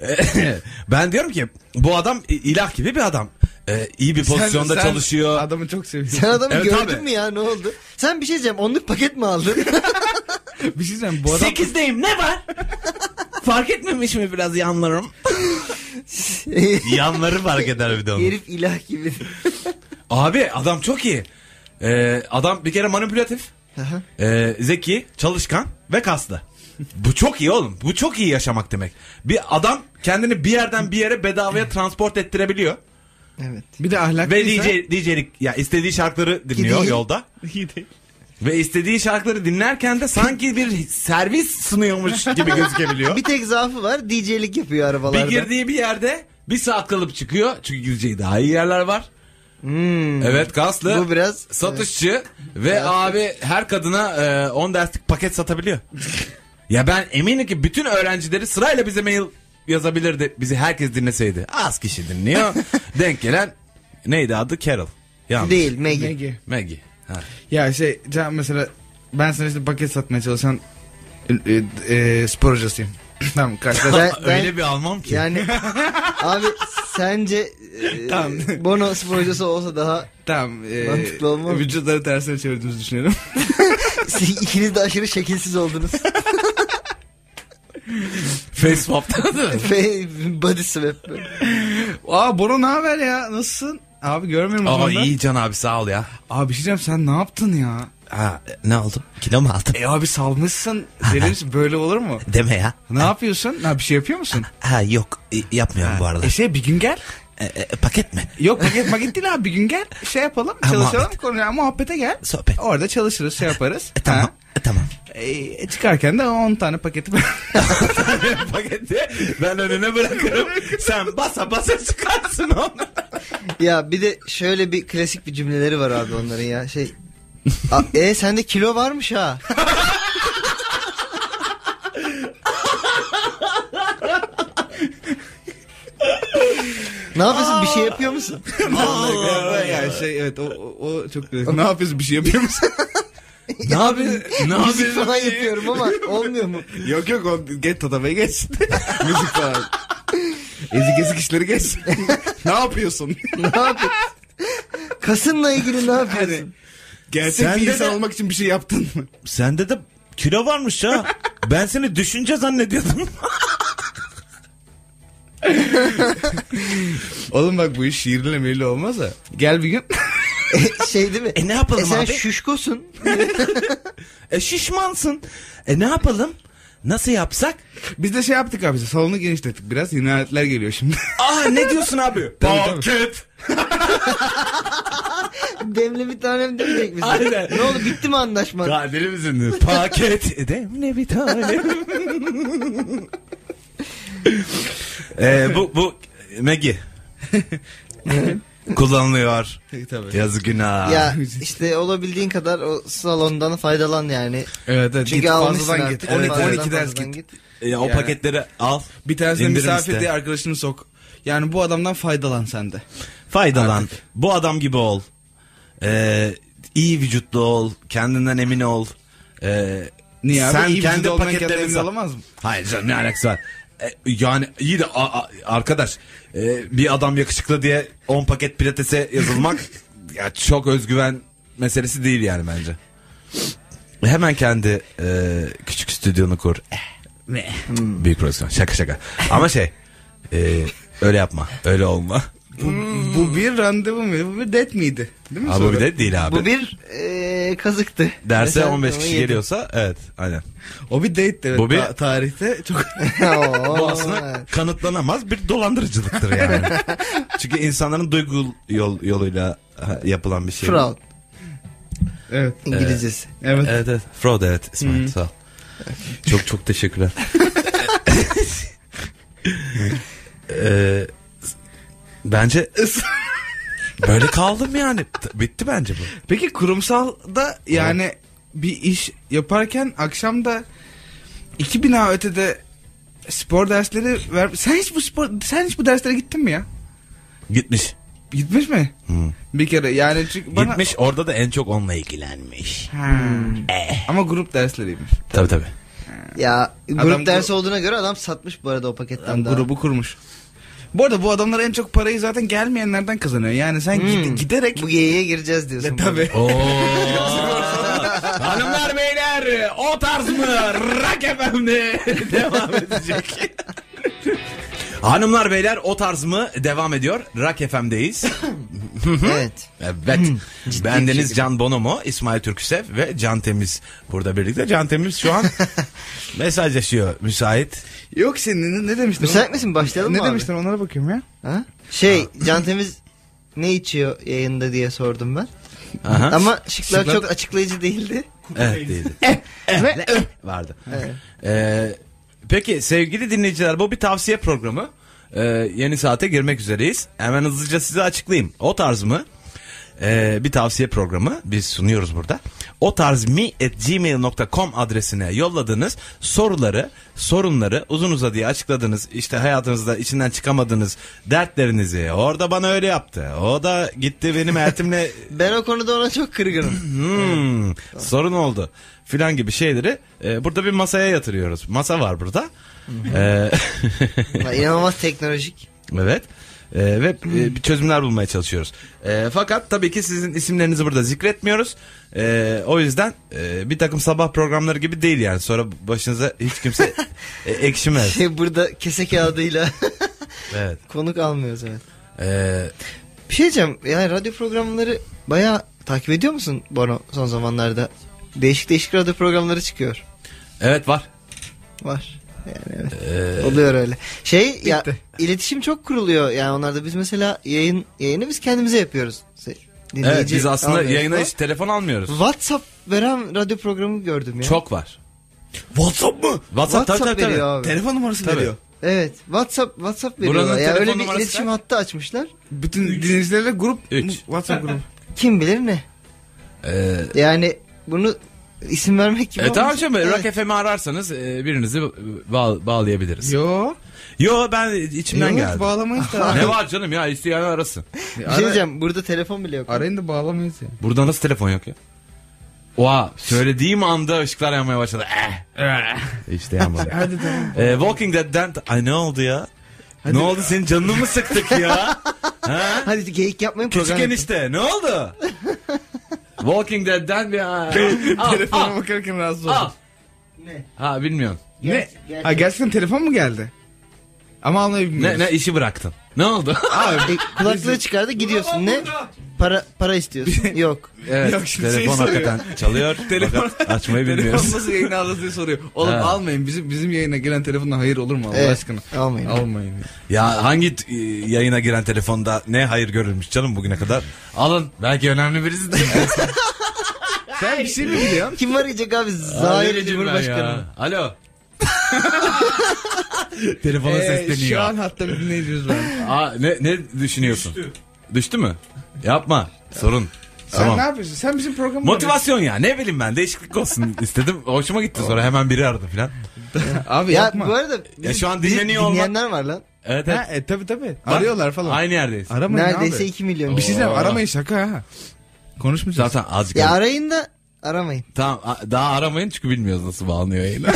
ben diyorum ki bu adam i- ilah gibi bir adam. Ee, iyi bir pozisyonda
Sen- sen
çalışıyor.
Adamı çok seviyorum.
Sen adamı
Evet,
gördün
abi.
mü ya ne oldu? Sen bir şey diyeceğim onluk paket mi aldın?
bir şey diyeceğim bu adam
Sekizdeyim ne var? Fark etmemiş mi biraz yanlarım? Yanları fark eder bir de onun.
Herif ilah gibi.
Abi adam çok iyi. Ee, adam bir kere manipülatif,
Aha.
ee, zeki, çalışkan ve kaslı. Bu çok iyi oğlum. Bu çok iyi yaşamak demek. Bir adam kendini bir yerden bir yere bedavaya transport ettirebiliyor.
evet.
bir de ahlaklıysa.
Ve DJ, DJ'lik ya istediği şarkıları dinliyor
Gideyim.
yolda. Ve istediği şarkıları dinlerken de sanki bir servis sunuyormuş gibi gözükebiliyor.
Bir tek zaafı var DJ'lik yapıyor arabalarda.
Bir girdiği bir yerde bir saat kalıp çıkıyor. Çünkü gireceği daha iyi yerler var.
Hmm.
Evet kaslı.
Bu biraz-
Satışçı ve abi her kadına e, 10 derslik paket satabiliyor. ya ben eminim ki bütün öğrencileri sırayla bize mail yazabilirdi. Bizi herkes dinleseydi. Az kişi dinliyor. Denk gelen neydi adı? Carol. Yanlış.
Değil Maggie.
Megi.
Maggie. Ha.
Ya şey can mesela ben sana işte paket satmaya çalışan e, e, spor hocasıyım. tamam karşıda.
Ben-
Öyle bir almam ki.
Yani abi sence e,
Tamam.
Bono sporcusu olsa daha
tamam. E,
Mantıklı olmaz.
Vücutları tersine çevirdiğimizi düşünüyorum.
siz ikiniz de aşırı şekilsiz oldunuz.
Face swap'tan da.
Ve body swap.
Aa Bono ne haber ya? Nasılsın? Abi görmüyorum
Ama
adamı da.
iyi Can abi sağ ol ya.
Abi bir şey diyeceğim sen ne yaptın ya?
Ha, ne oldu? Kilo mu aldın?
E abi salmışsın. Deli misin? Böyle olur mu?
Deme ya.
Ne yapıyorsun? Ha bir şey yapıyor musun?
Ha yok e, yapmıyorum bu arada.
E şey bir gün gel.
E, e, paket mi?
Yok paket maket değil abi bir gün gel. Şey yapalım.
Ha,
Çalışalım.
muhabbet.
Konuya muhabbete gel.
Sohbet.
Orada çalışırız şey yaparız.
E, tamam.
Ha.
E, tamam.
E, çıkarken de 10 tane paketi
paketi ben önüne bırakırım. Sen basa basa çıkarsın onu.
Ya bir de şöyle bir klasik bir cümleleri var abi onların ya. Şey A, e sende kilo varmış ha. ne yapıyorsun? Bir şey yapıyor musun?
ya şey evet o, o, o çok ne yapıyorsun bir şey yapıyor musun?
ne yapıyorsun? Ne
Müzik
yapıyorsun?
falan yapıyorum ama olmuyor mu?
yok yok o geç tatavaya geç. Müzik falan. Ezik ezik işleri geç. ne yapıyorsun?
Ne yapıyorsun? Kasınla ilgili ne yapıyorsun?
Gerçek
Sen
bir
de
insan
de-
olmak için bir şey yaptın mı?
Sende de kilo varmış ha. Ben seni düşünce zannediyordum.
Oğlum bak bu iş şiirle meyli olmaz ha. Gel bir gün.
şey değil mi?
E ne yapalım
sen
abi?
şuşkosun.
E şişmansın. E ne yapalım? Nasıl yapsak?
Biz de şey yaptık abi salonu genişlettik biraz. İnanetler geliyor şimdi.
Aa ne diyorsun abi?
Tabii, tabii.
Demle bir tanem demeyecek misin?
Aynen.
Ne oldu bitti mi anlaşma?
Ya deli misin? Paket. Edemle bir tane. Ee, bu bu Megi. Kullanılıyor.
Tabii.
Yazık günah.
Ya işte olabildiğin kadar o salondan faydalan yani.
Evet evet.
Çünkü
git
almışsın
fazladan
artık.
git. 12,
fazladan,
12 ders
fazladan
git.
Ya o
Yani-
paketleri al.
Bir tanesine
indirim
misafir
iste.
diye arkadaşını sok. Yani bu adamdan faydalan sen de.
Faydalan. Bu adam gibi ol. Ee, iyi vücutlu ol. Kendinden emin ol. Ee,
Niye abi?
Sen
İyi vücudu
kendi
olmayan
paketlerini
kendini
sat.
alamaz mı?
Hayır canım ne alakası var? E, yani iyi de a- a- arkadaş e, bir adam yakışıklı diye 10 paket pilatese yazılmak ya çok özgüven meselesi değil yani bence. Hemen kendi e, küçük stüdyonu kur. Eh,
Hmm.
Büyük prodüksiyon şaka şaka. Ama şey e, öyle yapma öyle olma.
Bu, bu bir randevu muydu? Bu bir det miydi? Değil mi?
Abi
soru?
bu bir de değil abi.
Bu bir eee, kazıktı.
Derse
Mesela
15 kişi
onu yedim.
geliyorsa evet aynen.
O bir date de.
Bu
Bu
bir-
tarihte çok
Oo,
Bu aslında kanıtlanamaz bir dolandırıcılıktır yani. Çünkü insanların duygu yol, yoluyla ha, yapılan bir şey.
Fraud.
Evet.
İngilizcesi.
Evet.
Evet evet. Fraud evet İsmail sağ ol. Çok çok teşekkürler. Ee, bence böyle kaldım yani. T- Bitti bence bu.
Peki kurumsalda yani bir iş yaparken akşam da iki bina ötede spor dersleri ver. Sen hiç bu spor sen hiç bu derslere gittin mi ya?
Gitmiş.
Gitmiş mi? Bir kere yani çünkü bana
Gitmiş orada da en çok onunla ilgilenmiş.
Ha. Ama grup dersleriymiş.
Tabii tabii.
Ya
Adam
grup
gru-
dersi olduğuna göre adam satmış bu arada o paketten
Adam
daha.
grubu kurmuş. Bu arada bu adamlar en çok parayı zaten gelmeyenlerden kazanıyor. Yani sen
Hmm.
gide- giderek
Bu Oh. geyiğe gireceğiz diyorsun.
E, tabii.
Oo. Hanımlar beyler o tarz mı? Rock FM'de devam edecek. Hanımlar beyler o tarz mı devam ediyor. Rock FM'deyiz.
evet.
Evet. Bendeniz Can Bonomo, İsmail Türküsev ve Can Temiz burada birlikte. Can Temiz şu an mesajlaşıyor müsait.
Yok senin ne demiştin?
Müsait misin? Başlayalım
ne
mı abi?
demiştin onlara bakıyorum ya.
Ha? Şey Can Temiz ne içiyor yayında diye sordum ben.
Aha.
Ama şıklar
Şıklar-
çok açıklayıcı değildi.
Evet değildi.
Ve
vardı. Ee, peki sevgili dinleyiciler bu bir tavsiye programı. Ee, yeni saate girmek üzereyiz. Hemen hızlıca size açıklayayım. O tarz mı? Ee, bir tavsiye programı biz sunuyoruz burada. O tarz mi gmail.com adresine yolladığınız soruları, sorunları uzun uzadıya açıkladığınız işte hayatınızda içinden çıkamadığınız dertlerinizi orada bana öyle yaptı. O da gitti benim eltimle
ben o konuda ona çok kırgınım.
Hmm, sorun oldu filan gibi şeyleri e, burada bir masaya yatırıyoruz. Masa var burada. E,
Ya, İnanılmaz teknolojik.
evet. E, ve e, bir çözümler bulmaya çalışıyoruz. E, fakat tabii ki sizin isimlerinizi burada zikretmiyoruz. E, o yüzden e, bir takım sabah programları gibi değil yani. Sonra başınıza hiç kimse e, ekşimez.
Şey burada kese kağıdıyla
Evet.
konuk almıyoruz evet.
E,
Bir şey diyeceğim. Yani radyo programları bayağı takip ediyor musun Bono son zamanlarda? Değişik değişik radyo programları çıkıyor.
evet var.
Var. Yani evet.
E,
Oluyor öyle. Şey ya
Bitti.
iletişim çok kuruluyor yani onlarda biz mesela yayın yayını biz kendimize yapıyoruz. Se- dinleyici
evet, biz aslında
almıyoruz
yayına
falan.
hiç telefon almıyoruz.
WhatsApp veren radyo programı gördüm ya.
Çok var.
WhatsApp mı?
WhatsApp, tabii,
WhatsApp
tabii, tabii.
veriyor abi.
Telefon numarası
Tabii.
veriyor.
Evet. WhatsApp WhatsApp
Buranın
veriyorlar. Ya
telefon
öyle bir
numarası
iletişim
kaç?
hattı açmışlar.
Bütün dinleyicilerle grup
Üç.
WhatsApp grubu.
Kim bilir ne?
E,
Yani bunu isim vermek gibi.
E tamam
olmaz.
canım
Evet.
Rock FM'i ararsanız e, birinizi bağ- bağlayabiliriz. Yo.
Yo.
ben içimden
Yok,
geldi.
bağlamayız da.
ne var canım ya isteyen arasın.
Bir şey diyeceğim burada telefon bile yok.
Arayın da bağlamayız ya.
Burada nasıl telefon yok ya? Oha söylediğim anda ışıklar yanmaya başladı. Eh. işte yanmadı.
Hadi tamam.
E, Walking Dead'den ay ne oldu ya? ne oldu senin canını mı sıktık ya? ha?
Hadi geyik yapmayın
Küçük
program. yapın.
enişte ne oldu? Walking Dead'den bir al,
Telefona
al,
bakarken rahatsız
al.
oldum.
Ne?
Ha bilmiyorsun.
Ne?
Gerçek-
Ha gerçekten telefon mu geldi? Ama almayı bilmiyoruz.
Ne, ne işi bıraktın? Ne oldu?
E, kulaklığı çıkardı gidiyorsun. Ne? Para para istiyorsun. Yok.
evet,
Yok, şimdi şey
telefon
soruyor.
hakikaten çalıyor.
Telefon-
fakat açmayı
Telefon
bilmiyoruz.
nasıl yayına aldı diye soruyor. Oğlum
Ha.
almayın bizim bizim yayına gelen telefonla hayır olur mu Allah
Evet,
aşkına?
almayın.
Almayın.
Ya hangi t- yayına giren telefonda ne hayır görülmüş canım bugüne kadar? Alın belki önemli birisi de.
Sen bir şey mi biliyorsun?
Kim arayacak abi?
Hayır
Zahir Cumhurbaşkanı.
Alo. Telefona
Ee,
sesleniyor.
şu an hatta bir dinleyicimiz var. Sen
Aa, ne, ne düşünüyorsun? Düştü. mü? Yapma. Sorun.
ne
Tamam.
yapıyorsun? Sen bizim programı
Motivasyon ya ne bileyim ben değişiklik olsun istedim. Hoşuma gitti sonra hemen biri aradı filan.
Abi
Ya
yapma.
bu arada
Ya şu an
bizi
dinleniyor olmak-
dinleyenler var lan.
Evet evet.
Ha, e, tabii tabii.
Bak,
Arıyorlar falan.
Aynı yerdeyiz.
Aramayın
Neredeyse
abi.
2 milyon.
Bir şey diyeyim aramayın şaka ha. Konuşmayacağız.
Zaten azıcık.
Ya arayın da aramayın.
Tamam a- daha aramayın çünkü bilmiyoruz nasıl bağlanıyor yayını.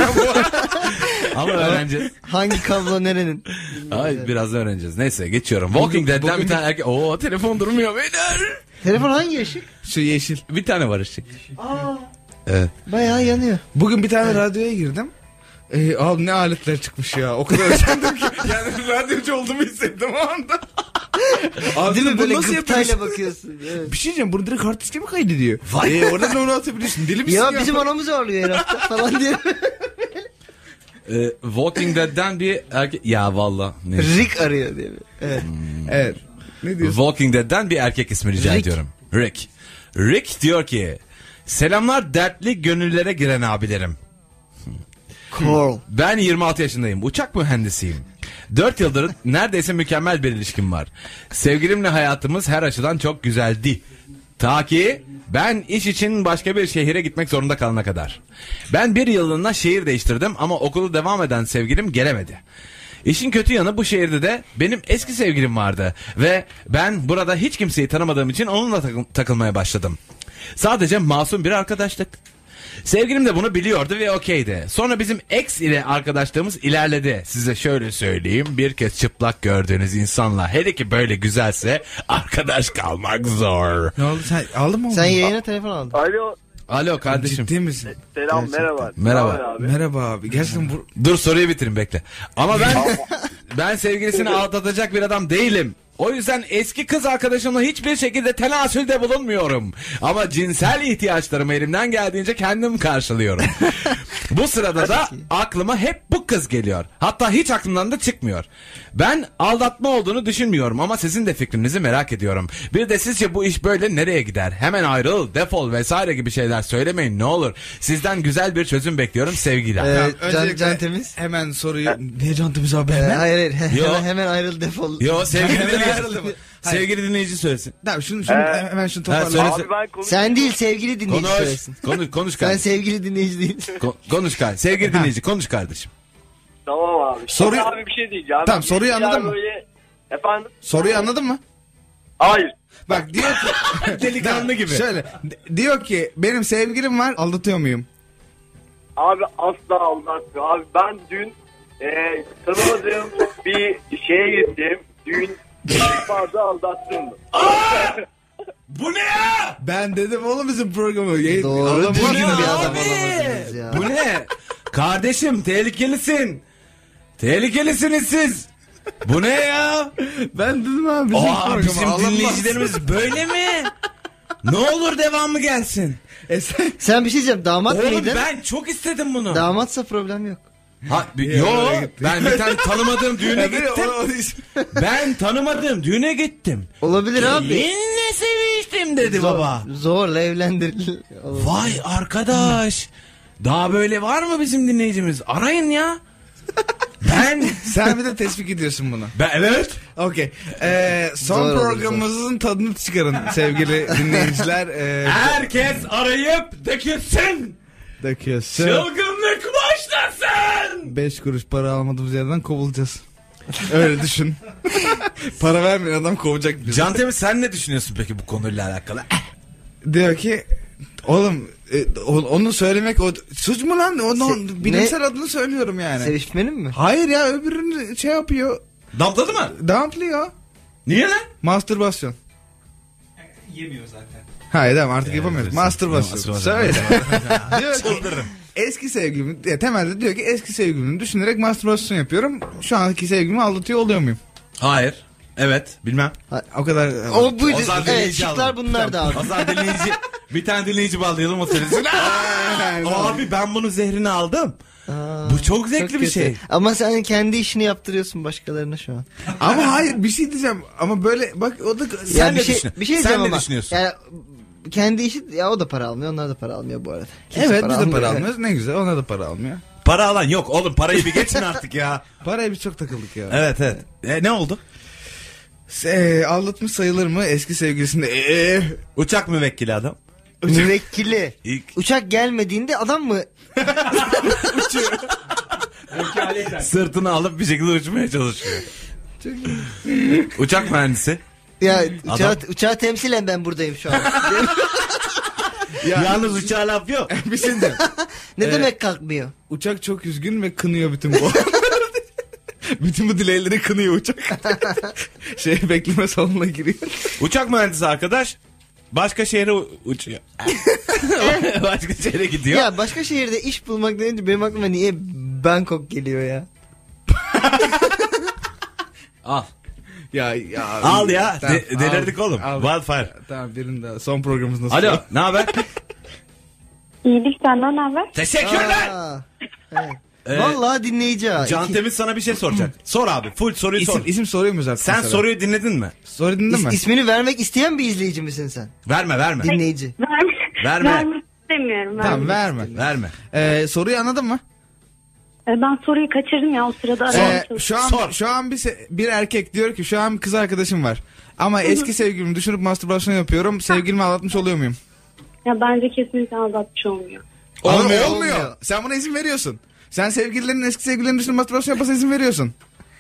Ama öğreneceğiz.
Hangi kablo nerenin?
Ay, biraz da öğreneceğiz. Neyse geçiyorum. Walking Dead'den bir tane erkek. Oo telefon durmuyor beyler.
Telefon hangi ışık?
Şu yeşil.
Bir tane var işte.
Aa
Evet.
bayağı yanıyor.
Bugün bir tane radyoya girdim. Ee, abi ne aletler çıkmış ya. O kadar özendim ki. Yani radyocu olduğumu hissettim o anda. Abi
Değil mi
bu
böyle
nasıl yapıyorsun?
gıptayla bakıyorsun? Evet.
Bir şey diyeceğim bunu direkt hard diske mi kaydediyor? Vay. oradan onu atabilirsin. Deli misin ya?
Ya bizim anamız ağlıyor her hafta falan diye.
Ee, Walking Dead'den bir erkek. Ya valla. ne-
Rick arıyor diye. Evet.
Evet. Ne diyorsun?
Walking Dead'den bir erkek ismi rica
Rick.
ediyorum. Rick. Rick diyor ki Selamlar dertli gönüllere giren abilerim.
Coral.
Ben 26 yaşındayım. Uçak mühendisiyim. 4 yıldır neredeyse mükemmel bir ilişkim var. Sevgilimle hayatımız her açıdan çok güzeldi. Ta ki ben iş için başka bir şehire gitmek zorunda kalana kadar. Ben bir yılına şehir değiştirdim ama okulu devam eden sevgilim gelemedi. İşin kötü yanı bu şehirde de benim eski sevgilim vardı ve ben burada hiç kimseyi tanımadığım için onunla takıl- takılmaya başladım. Sadece masum bir arkadaşlık. Sevgilim de bunu biliyordu ve okeydi. Sonra bizim ex ile arkadaşlığımız ilerledi. Size şöyle söyleyeyim. Bir kez çıplak gördüğünüz insanla hele ki böyle güzelse arkadaş kalmak zor.
Ne oldu sen aldın mı onu?
Sen yayına telefon aldın.
Alo.
Alo kardeşim.
Ciddi misin?
Selam
Gerçekten.
merhaba.
Merhaba.
Ne haber abi?
Merhaba abi. Gerçekten bu...
Dur soruyu bitirin bekle. Ama ben ben sevgilisini aldatacak bir adam değilim. O yüzden eski kız arkadaşımla hiçbir şekilde tenasülde bulunmuyorum. Ama cinsel ihtiyaçlarımı elimden geldiğince kendim karşılıyorum. bu sırada da aklıma hep bu kız geliyor. Hatta hiç aklımdan da çıkmıyor. Ben aldatma olduğunu düşünmüyorum ama sizin de fikrinizi merak ediyorum. Bir de sizce bu iş böyle nereye gider? Hemen ayrıl, defol vesaire gibi şeyler söylemeyin ne olur. Sizden güzel bir çözüm bekliyorum sevgiler.
Ee,
Tamam,
Can-
öncelikle
Can Temiz.
Hemen soruyu... Ne Can Temiz abi
Ee,
hemen?
hayır hayır.
Yo.
hemen, hemen ayrıl defol.
Yo sevgili
ayrıldı
dinleyici.
mı? Hayır.
sevgili dinleyici söylesin.
Tamam şunu, şunu
Ee,
hemen şunu
Ha,
toparla.
söyle-
Abi ben konuş-
Sen değil sevgili dinleyici
Konuş.
söylesin.
Konuş konuş
Sen
kardeşim.
sevgili dinleyici değilsin.
Ko- konuş kardeşim. Sevgili dinleyici konuş kardeşim.
Tamam abi.
Soruyu-
Sonra abi bir şey diyeceğim.
Tamam, soruyu
Bir
anladın
yer
mı?
Böyle... Efendim?
Soruyu anladın mı?
Hayır.
Bak diyor ki...
Delikanlı gibi.
Şöyle. d- Diyor ki benim sevgilim var aldatıyor muyum?
Abi asla aldatmıyor. Abi ben dün e, tanımadığım bir şeye gittim. Dün fazla aldattım.
Bu ne ya?
Ben dedim oğlum bizim programı. Yayın-
Doğru
Adam-
düzgün
ne
bir adam
abi?
olamadınız ya.
Bu ne? kardeşim tehlikelisin. Tehlikelisiniz siz. Bu ne ya?
Ben dedim abi bizim
Aa,
programı
bizim
alınmaz.
dinleyicilerimiz böyle mi? Ne olur devamı gelsin.
E sen-
Sen bir şey diyeceğim damat
Oğlum
mıydın?
ben çok istedim bunu.
Damatsa problem yok.
Ha, bi-
Niye
yo
oraya gittin?
ben bir tane tanımadığım düğüne
Evet,
gittim.
o- o-
Ben tanımadığım düğüne gittim.
Olabilir abi.
Gelinle seviştim dedi
Zor-
baba.
Zorla evlendiril.
Vay arkadaş. Daha böyle var mı bizim dinleyicimiz? Arayın ya. Ben
Sen bir de tespit ediyorsun bunu.
ben evet.
Okey. Ee, son
Doğru,
programımızın tadını çıkarın sevgili dinleyiciler. Ee,
Herkes arayıp dökülsün.
döküyorsun.
Çılgınlık başlasın.
5 kuruş para almadığımız yerden kovulacağız. Öyle düşün. para vermeyen adam kovacak bizi.
Can Temiz sen ne düşünüyorsun peki bu konuyla alakalı? Eh,
Diyor ki oğlum e, o- onu söylemek o suç mu lan? Onun
Se-
bilimsel adını söylüyorum yani.
Sevişmenin mi?
Hayır ya öbürünü şey yapıyor.
Damladı mı?
Damplıyor.
Niye lan?
Mastürbasyon. Yemiyor zaten. Hayır tamam artık yapamıyoruz. Mastürbasyon.
mastürbasyon.
Söyle. Diyor ki, eski sevgilimi ya temelde diyor ki eski sevgilimi düşünerek mastürbasyon yapıyorum. Şu anki sevgilimi aldatıyor oluyor muyum?
Hayır. Evet. Bilmem.
O kadar
O bu
Ozan
evet,
dinleyici
şıklar
aldım.
bunlar da abi.
Hasan dinleyici. bir tane dinleyici bağlayalım o serisi. Abi ben bunun zehrini aldım. Bu çok zevkli
Çok
bir
kötü.
şey.
Ama sen kendi işini yaptırıyorsun başkalarına şu an.
Ama hayır bir şey diyeceğim ama böyle bak o da
Sen
Yani
ne
bir şey,
düşün-
bir şey
sen
diyeceğim
ne
ama,
düşünüyorsun?
Yani kendi işi ya o da para almıyor, onlar da para almıyor bu arada. Kimse
evet biz de para
almıyor.
almıyoruz ne güzel ona da para almıyor.
Para alan yok oğlum parayı bir geçin artık ya.
Paraya biz çok takıldık ya.
Evet evet. E, ne oldu?
Se- aldatmış sayılır mı eski sevgilisinde? Ee,
Uçak müvekkili adam.
Müvekkili.
İlk-
Uçak gelmediğinde adam mı?
Sırtını alıp bir şekilde uçmaya çalışıyor. Uçak mühendisi.
Ya uçağı, uçağı temsilen ben buradayım şu an.
Yalnız uçağa laf yok.
bir şey diyeceğim.
ne demek kalkmıyor?
Uçak çok üzgün ve kınıyor bütün bu. bütün bu dileğleri kınıyor uçak. şey bekleme salonuna giriyor.
Uçak mühendisi arkadaş başka şehre u- uçuyor. başka şehre gidiyor.
Ya başka şehirde iş bulmak deyince benim aklıma niye Bangkok geliyor ya?
Al.
Ya, ya
Al ya.
Tamam,
De- delirdik
al,
oğlum.
al.
Wildfire.
Tamam birinin daha son programımız nasıl?
Alo ne haber?
İyilik senden ne haber?
Teşekkürler.
Aa, evet.
Ee,
Vallahi dinleyici ha.
Can
İki-
Temiz sana bir şey soracak. Sor abi. Full soruyu
İsim,
sor.
isim soruyor muyuz artık?
Sen
mesela?
soruyu dinledin mi?
Soru dinledin
İs-
mi?
ismini vermek isteyen bir izleyici misin sen?
Verme verme.
Dinleyici.
Verme.
Verme.
Vermek istemiyorum. vermek.
Tamam verme.
Verme.
Ee, soruyu anladın mı?
Ee, Ben soruyu kaçırdım ya o sırada. aramaya
Ee,
çalıştım.
şu an
Sor.
şu an bir se- bir erkek diyor ki şu an kız arkadaşım var. Ama eski sevgilimi düşünüp mastürbasyon yapıyorum. Sevgilimi aldatmış oluyor muyum?
Ya bence kesinlikle aldatmış olmuyor.
Olmuyor. Olmuyor.
olmuyor.
Sen buna izin veriyorsun. Sen sevgililerin eski sevgililerin düşünüp mastürbasyon yapmasına izin veriyorsun.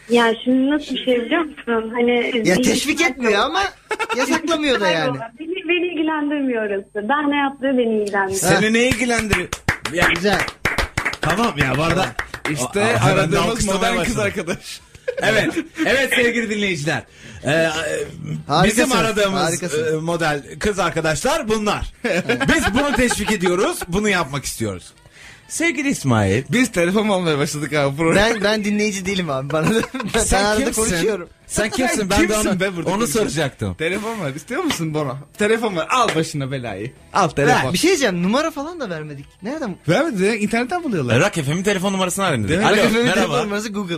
Yani şimdi nasıl bir şey biliyor musun? Hani
Ya teşvik etmiyor ama yasaklamıyor da yani.
Beni, beni ilgilendirmiyor orası. Ben ne yaptığı beni ilgilendiriyor.
Seni ne ilgilendiriyor? Ya,
Güzel.
tamam ya bu arada.
İşte
Aa, aa, ben de
aradığımız
alkışlamaya
modern kız
başladım.
arkadaş.
Evet. Evet sevgili dinleyiciler. Ee, e, bizim
Harikasınız,
aradığımız
harikasınız.
e, model kız arkadaşlar bunlar. Biz bunu teşvik ediyoruz. Bunu yapmak istiyoruz. Sevgili İsmail.
Biz telefon almaya başladık abi program.
Ben ben dinleyici değilim abi. Bana da, ben
Sen
arada
kimsin?
konuşuyorum.
Sen kimsin? Ben
Kimsin
de onu,
be burada
onu
konuşuyorsun?
soracaktım.
Telefon var istiyor musun Bono? Telefon var al başına belayı. Al telefon.
Ha, bir şey diyeceğim. Numara falan da vermedik. Nereden?
Vermedi ya, internetten buluyorlar.
Rock FM'in telefon numarasını arayın dedi.
Demek
Alo
Rock
Efendim, telefon
merhaba.
numarası Google.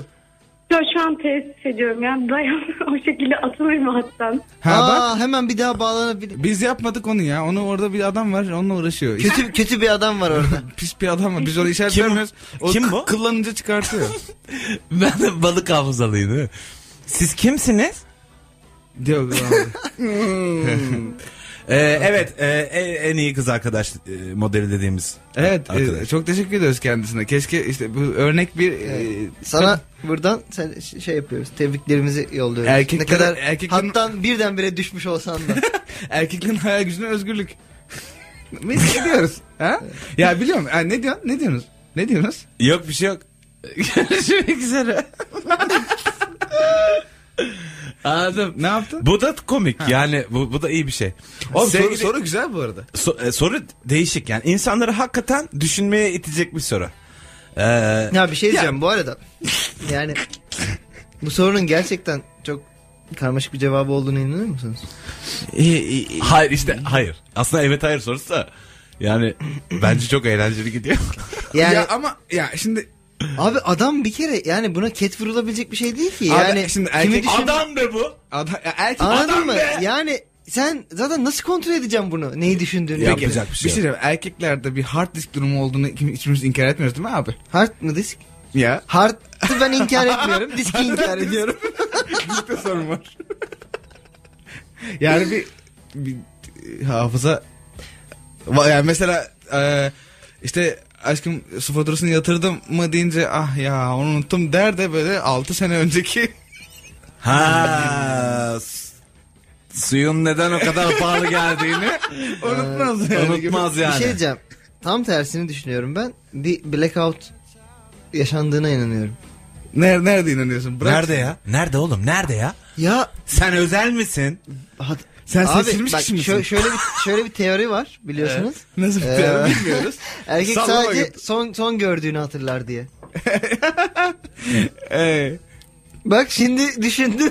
Ya şu an teessüf ediyorum. Yani dayan o şekilde atılırım hattan.
Ha
Aa,
bak
hemen bir daha bağlanabilir.
biz yapmadık onu ya. Onu orada bir adam var onunla uğraşıyor. İşte
Kötü kötü bir adam var orada.
pis bir adam var. Biz onu işaret
Kim-
vermiyoruz. O
kim
kim
bu?
bu? Kullanınca çıkartıyor.
Ben de balık hafızalıyım değil mi? Siz kimsiniz?
Diyor
Ee, evet e, e- en iyi kız arkadaş e, modeli dediğimiz
Evet e,
arkadaş.
çok teşekkür ediyoruz kendisine. Keşke işte bu örnek bir e,
Sana buradan sen ş- şey yapıyoruz. Tebriklerimizi yolluyoruz.
Erkekler-
ne kadar
erkeklerin-
hattan birdenbire düşmüş olsan da.
erkeklerin hayal gücüne özgürlük. Biz gidiyoruz. ha? Ya biliyor musun? Ha, ne diyorsun? Ne diyorsunuz? Ne diyorsunuz?
Yok bir şey yok.
Görüşmek üzere.
Anladım.
Ne yaptın?
Bu da komik yani bu, bu da iyi bir şey.
Oğlum,
Sevgili-
soru, soru güzel bu arada.
so- e, soru değişik yani insanları hakikaten düşünmeye itecek bir soru. Ee,
Ya bir şey diyeceğim bu arada. Yani bu sorunun gerçekten çok karmaşık bir cevabı olduğunu inanır mısınız?
hayır işte hayır. Aslında evet hayır sorusu da yani bence çok eğlenceli gidiyor.
Yani
Ya ama ya şimdi
abi adam bir kere yani buna ket vurulabilecek bir şey değil ki.
Abi,
Yani
şimdi
kimi
erkek-
düşün-
Adam be bu.
adam, ya erkek
Anladın
adam
mı?
be!
Yani sen zaten nasıl kontrol edeceğim bunu? Neyi düşündüğünü?
Yapacak
Peki.
bir
bir
şey
şey
yok.
diyeceğim. Erkeklerde bir hard disk durumu olduğunu kim- hiçbirimiz inkar etmiyoruz değil mi abi?
Hard mı disk?
Ya.
Hard'ı ben inkar etmiyorum. Diski inkar ediyorum.
Diskte sorun var. yani bir, bir hafıza Va- yani mesela e, işte aşkım su faturasını yatırdım mı deyince ah ya onu unuttum der de böyle 6 sene önceki
Ha. s- Suyun neden o kadar pahalı geldiğini
e, unutmaz yani. gibi.
unutmaz
Bir şey
yani.
diyeceğim. Tam tersini düşünüyorum ben. Bir blackout yaşandığına inanıyorum.
Nerede, nerede inanıyorsun? Bırak.
Nerede ya? Nerede oğlum? Nerede ya?
Ya
Sen özel misin?
hat-
Sen
Abi,
seçilmiş
bak,
kişi misin?
şö- şöyle bir şöyle bir teori var biliyorsunuz.
E, Nasıl bir
Ee,
teori bilmiyoruz.
Erkek
Sallama
sadece
git.
son son gördüğünü hatırlar diye.
Ee,
Bak şimdi düşündüm.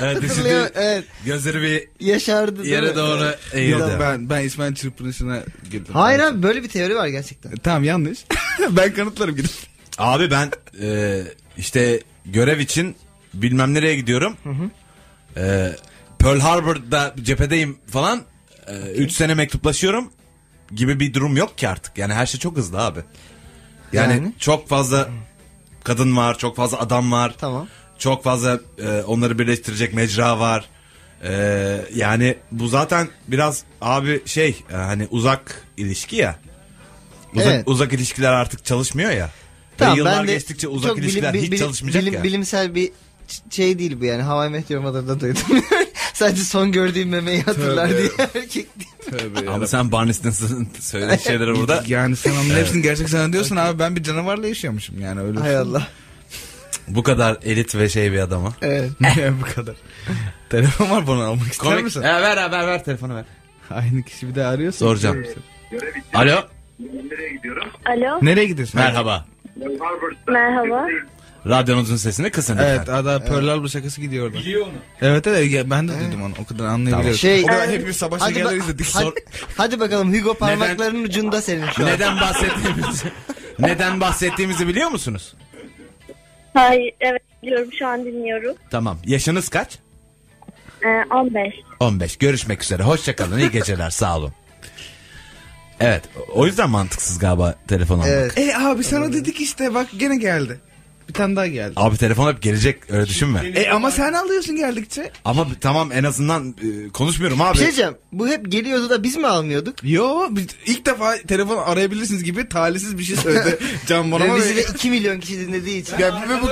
Evet,
Hatırlıyor,
düşündü,
evet.
gözleri bir
Yaşardı. değil mi?
yere doğru
Evet.
eğildi.
yok ben, ben İsmail çırpınışına güldüm.
Hayır abi böyle bir teori var gerçekten.
E, Tamam yanlış. ben kanıtlarım gidip.
Abi ben e, işte görev için bilmem nereye gidiyorum. E, Pearl Harbor'da cephedeyim falan. 3 sene mektuplaşıyorum gibi bir durum yok ki artık. Yani her şey çok hızlı abi. Yani,
Yani?
çok fazla kadın var, çok fazla adam var.
Tamam.
Çok fazla e, onları birleştirecek mecra var. E, yani bu zaten biraz abi şey e, hani uzak ilişki ya. Uzak,
Evet.
uzak ilişkiler artık çalışmıyor ya. Ve yıllar
de
geçtikçe uzak
çok bilim-
ilişkiler
bi-
hiç
bilim-
çalışmayacak
bilim-
ya.
Bilimsel bir ç- şey değil bu yani. Havai Meteor Mother'da duydum. Sadece son gördüğüm memeyi hatırlar
Tövbe.
diye erkek diye.
Tövbe
Ama sen Barney Stinson'ın söylediği şeyleri burada.
Yani sen onun hepsini gerçek sanıyorsun abi ben bir canavarla yaşıyormuşum yani öyle.
Hay Allah.
Bu kadar elit ve şey bir adama.
Evet.
Ne bu kadar. Telefon var bana almak ister
Komik.
misin?
E, ver abi ver telefonu ver.
Aynı kişi bir daha arıyorsun.
Soracağım.
ister misin?
Alo.
Nereye gidiyorum?
Alo.
Nereye gidiyorsun?
Merhaba.
Harvard'da.
Merhaba.
Radyonuzun sesini kısın lütfen.
Evet ada Pearl Harbor şakası gidiyordu. Biliyor onu. Evet evet ya ben de duydum onu o kadar anlayabiliyorum.
Şey-
o kadar
Yani-
hepimiz sabah
Hadi,
şekerler
ba-
izledik.
hadi-
Sor-
hadi bakalım Hugo parmaklarının ucunda senin şu an.
Neden bahsettiğimizi neden bahsettiğimizi biliyor musunuz?
Hayır evet biliyorum şu an dinliyorum.
Tamam. Yaşınız kaç?
Ee, 15.
15. Görüşmek üzere. Hoşçakalın. İyi geceler. Sağ olun. Evet. O yüzden mantıksız galiba telefon almak.
Evet.
E abi sana dedik işte bak gene geldi. Bir tane daha geldi.
Abi telefon hep gelecek öyle düşünme.
E ama sen alıyorsun geldikçe.
Ama tamam en azından e, konuşmuyorum abi.
Bir şey diyeceğim. Bu hep geliyordu da biz mi almıyorduk?
Yo biz ilk defa telefon arayabilirsiniz gibi talihsiz bir şey söyledi Can Bonomo.
Ve bizi
ve-
de 2 milyon kişi dinlediği için.
Ya ve bu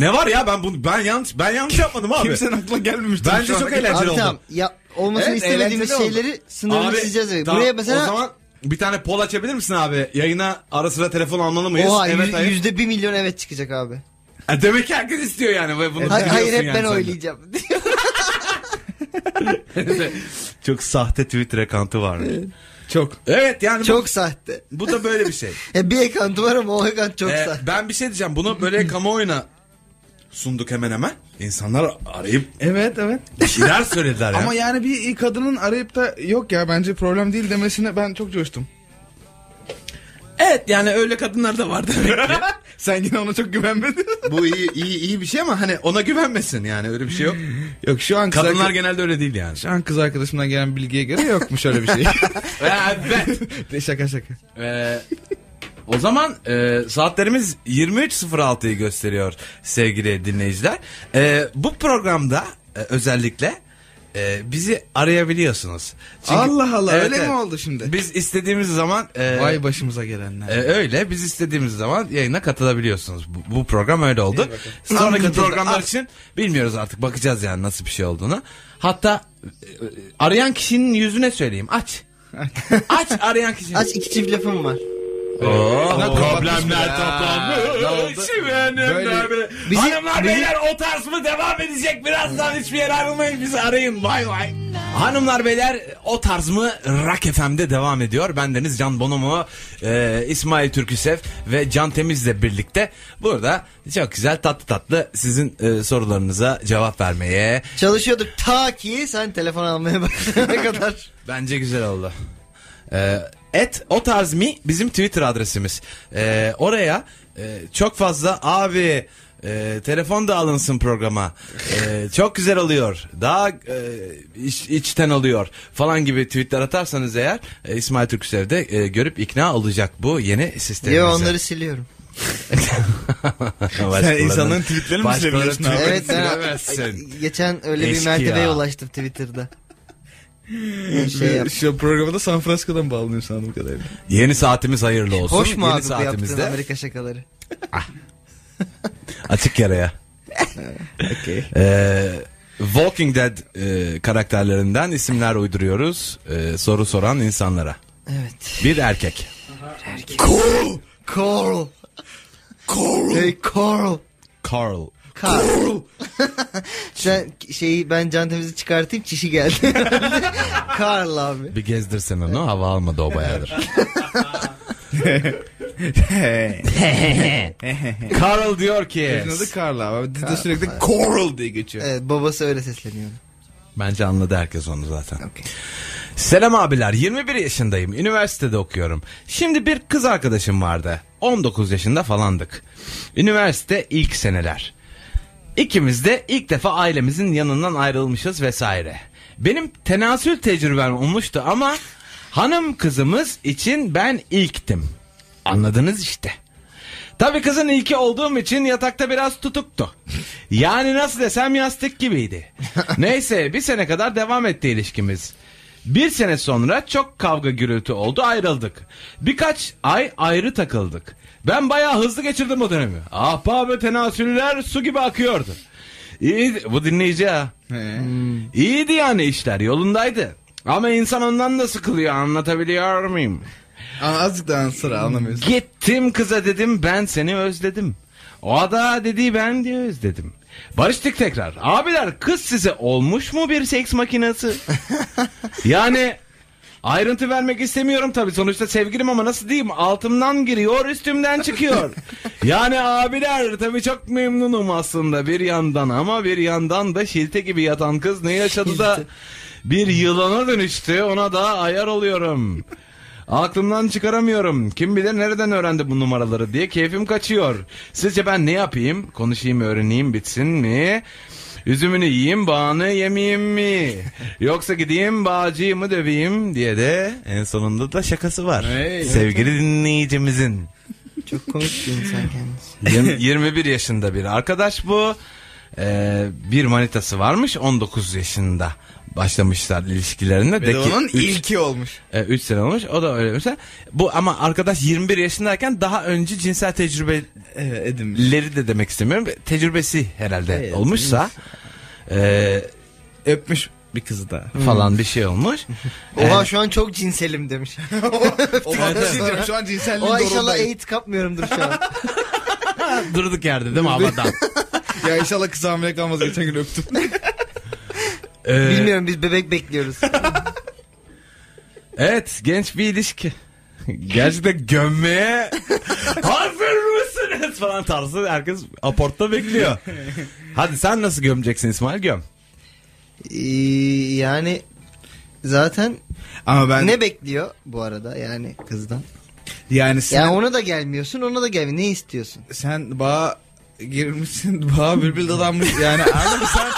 Ne var ya ben bunu ben yanlış ben yanlış yapmadım abi.
kimsenin aklına gelmemişti.
Bence çok eğlenceli.
Abi
oldu.
tamam. Ya, olmasını
Evet,
istemediğimiz
eğlenceli oldu.
şeyleri sınırlayacağız. evet.
tamam,
Buraya mesela...
o zaman bir tane poll açabilir misin abi? Yayına ara sıra telefon almalı mıyız?
Oha
evet
yüz-
hayır.
yüzde bir milyon evet çıkacak abi.
E, Demek ki herkes istiyor yani. ve Bunu
Hayır,
E, biliyorsun
hayır hep
yani
ben
sen de.
oylayacağım.
Çok sahte Twitter account'ı var.
Çok.
evet yani bu-
çok sahte.
bu da böyle bir şey.
E, bir ekantı var ama o ekant çok
Ee,
sahte.
ben bir şey diyeceğim. Bunu böyle kamuoyuna sunduk hemen hemen. İnsanlar arayıp
Evet evet.
bir şeyler söylediler ya.
Ama yani bir kadının arayıp da yok ya bence problem değil demesine ben çok coştum.
evet yani öyle kadınlar da vardı.
Sen yine ona çok güvenmedin.
Bu iyi, iyi iyi bir şey ama hani ona güvenmesin yani öyle bir şey yok.
yok şu an kız
Kadınlar
arka-
genelde öyle değil yani.
şu an kız arkadaşımdan gelen bilgiye göre yokmuş öyle bir şey.
evet.
De şaka şaka.
Ee, o zaman e, saatlerimiz 23.06'yı gösteriyor sevgili dinleyiciler. Ee, bu programda e, özellikle e, bizi arayabiliyorsunuz.
Allah Allah,
Evet,
öyle
evet.
mi oldu şimdi?
Biz istediğimiz zaman e,
Vay başımıza gelenler.
e, öyle biz istediğimiz zaman yayına katılabiliyorsunuz. Bu, bu program öyle oldu. Sonraki
Anladım.
programlar
Ah.
için bilmiyoruz artık bakacağız yani nasıl bir şey olduğunu. Hatta e, e, arayan kişinin yüzüne söyleyeyim aç. Aç arayan kişinin.
Aç iki çift lafım var.
Oo,
Kapatmış
problemler
bile. Ne oldu?
toplanmış.
Böyle-
Böyle...
Bizi-
Hanımlar
bizi-
beyler o tarz mı devam edecek? Birazdan hiçbir yere ayrılmayın bizi arayın. Vay vay. Hanımlar beyler o tarz mı Rock FM'de devam ediyor. Ben Deniz Can Bonomo, e, İsmail Türküsev ve Can Temiz'le birlikte burada çok güzel tatlı tatlı sizin e, sorularınıza cevap vermeye.
Çalışıyorduk ta ki sen telefon almaya başlayana kadar.
Bence güzel oldu. Ee, et o tarz mi bizim Twitter adresimiz. Ee, oraya e, çok fazla abi e, telefon da alınsın programa. E, çok güzel oluyor. Daha e, iç- içten oluyor falan gibi tweetler atarsanız eğer e, İsmail Türksev de e, görüp ikna olacak bu yeni sistemimize.
Yo onları siliyorum.
Başkalarının-
insanların tweetlerini mi
başkalarının
seviyorsun abi?
tweetlerini
Evet ben
silemezsin.
geçen öyle bir
Eşkıya.
mertebeye ulaştım Twitter'da. şey
Ve
yap-
e, Şu programı da San Francisco'dan bağlanıyor sandım kadarıyla.
Yeni saatimiz hayırlı olsun.
Hoş mu
yeni
abi bu yaptığın
saatimizde
Amerika şakaları?
açık yaraya.
Okey.
Ee, Walking Dead e, karakterlerinden isimler uyduruyoruz e, soru soran insanlara.
Evet.
Bir erkek.
Coral.
Carl.
Hey Coral.
Carl.
K. Sen şeyi ben can temizi çıkartayım çişi geldi. Karl abi.
Bir gezdirsen onu hava almadı o bayağıdır. Carl diyor ki
Kızın adı Carla ama dizide sürekli Coral diye geçiyor.
Evet babası öyle sesleniyor.
Bence anladı herkes onu zaten. Selam abiler 21 yaşındayım üniversitede okuyorum. Şimdi bir kız arkadaşım vardı 19 yaşında falandık. Üniversite ilk seneler. İkimiz de ilk defa ailemizin yanından ayrılmışız vesaire. Benim tenasül tecrübem olmuştu ama hanım kızımız için ben ilktim. Anladınız işte. Tabii kızın ilki olduğum için yatakta biraz tutuktu. Yani nasıl desem yastık gibiydi. Neyse bir sene kadar devam etti ilişkimiz. Bir sene sonra çok kavga gürültü oldu ayrıldık. Birkaç ay ayrı takıldık. Ben bayağı hızlı geçirdim o dönemi. Ahbap ve tenasüller su gibi akıyordu. İyi, bu dinleyici ha.
He.
İyiydi yani işler yolundaydı. Ama insan ondan da sıkılıyor anlatabiliyor muyum?
Ama azıcık daha sıra anlamıyorsun.
Gittim kıza dedim ben seni özledim. O da dedi ben diye özledim. Barıştık tekrar. Abiler kız size olmuş mu bir seks makinesi? yani ayrıntı vermek istemiyorum tabii. Sonuçta sevgilim ama nasıl diyeyim altımdan giriyor üstümden çıkıyor. yani abiler tabii çok memnunum aslında bir yandan ama bir yandan da şilte gibi yatan kız ne yaşadı da bir yılana dönüştü ona da ayar oluyorum. Aklımdan çıkaramıyorum. Kim bilir nereden öğrendi bu numaraları diye keyfim kaçıyor. Sizce ben ne yapayım? Konuşayım, öğreneyim, bitsin mi? Üzümünü yiyeyim, bağını yemeyeyim mi? Yoksa gideyim bağcıyı mı döveyim diye de en sonunda da şakası var.
Hey.
Sevgili dinleyicimizin.
Çok komik bir insan kendisi.
Yirmi- 21 yaşında bir arkadaş bu. Ee, bir manitası varmış 19 yaşında başlamışlar ilişkilerine.
Ve de
Deki-
onun
üç-
ilki olmuş.
3 sene olmuş. O da öyle mesela. Bu ama arkadaş 21 yaşındayken daha önce cinsel tecrübeleri
Evet edinmiş.
de demek istemiyorum. Tecrübesi herhalde
Evet,
olmuşsa e,
Öpmüş bir kızı daha.
falan bir şey olmuş.
Oha şu an çok cinselim demiş.
O bak bir şey diyeceğim şu an cinselliğin
Oha inşallah
doğrundayım.
AIDS kapmıyorumdur şu an.
Durduk yerde değil mi havadan?
Ya inşallah kız hamile kalmaz geçen gün öptüm.
Ee,
Bilmiyorum biz bebek bekliyoruz.
Evet genç bir ilişki. Gerçekten gömmeye hazır mısınız falan tarzı herkes aportta bekliyor. Hadi sen nasıl gömeceksin İsmail göm.
Ee, yani zaten
Ama ben
ne bekliyor bu arada yani kızdan?
yani sen,
Yani ona da gelmiyorsun ona da gelmiyor. Ne istiyorsun?
sen bağa girmişsin bağa bülbül dadanmış yani anladın mı sen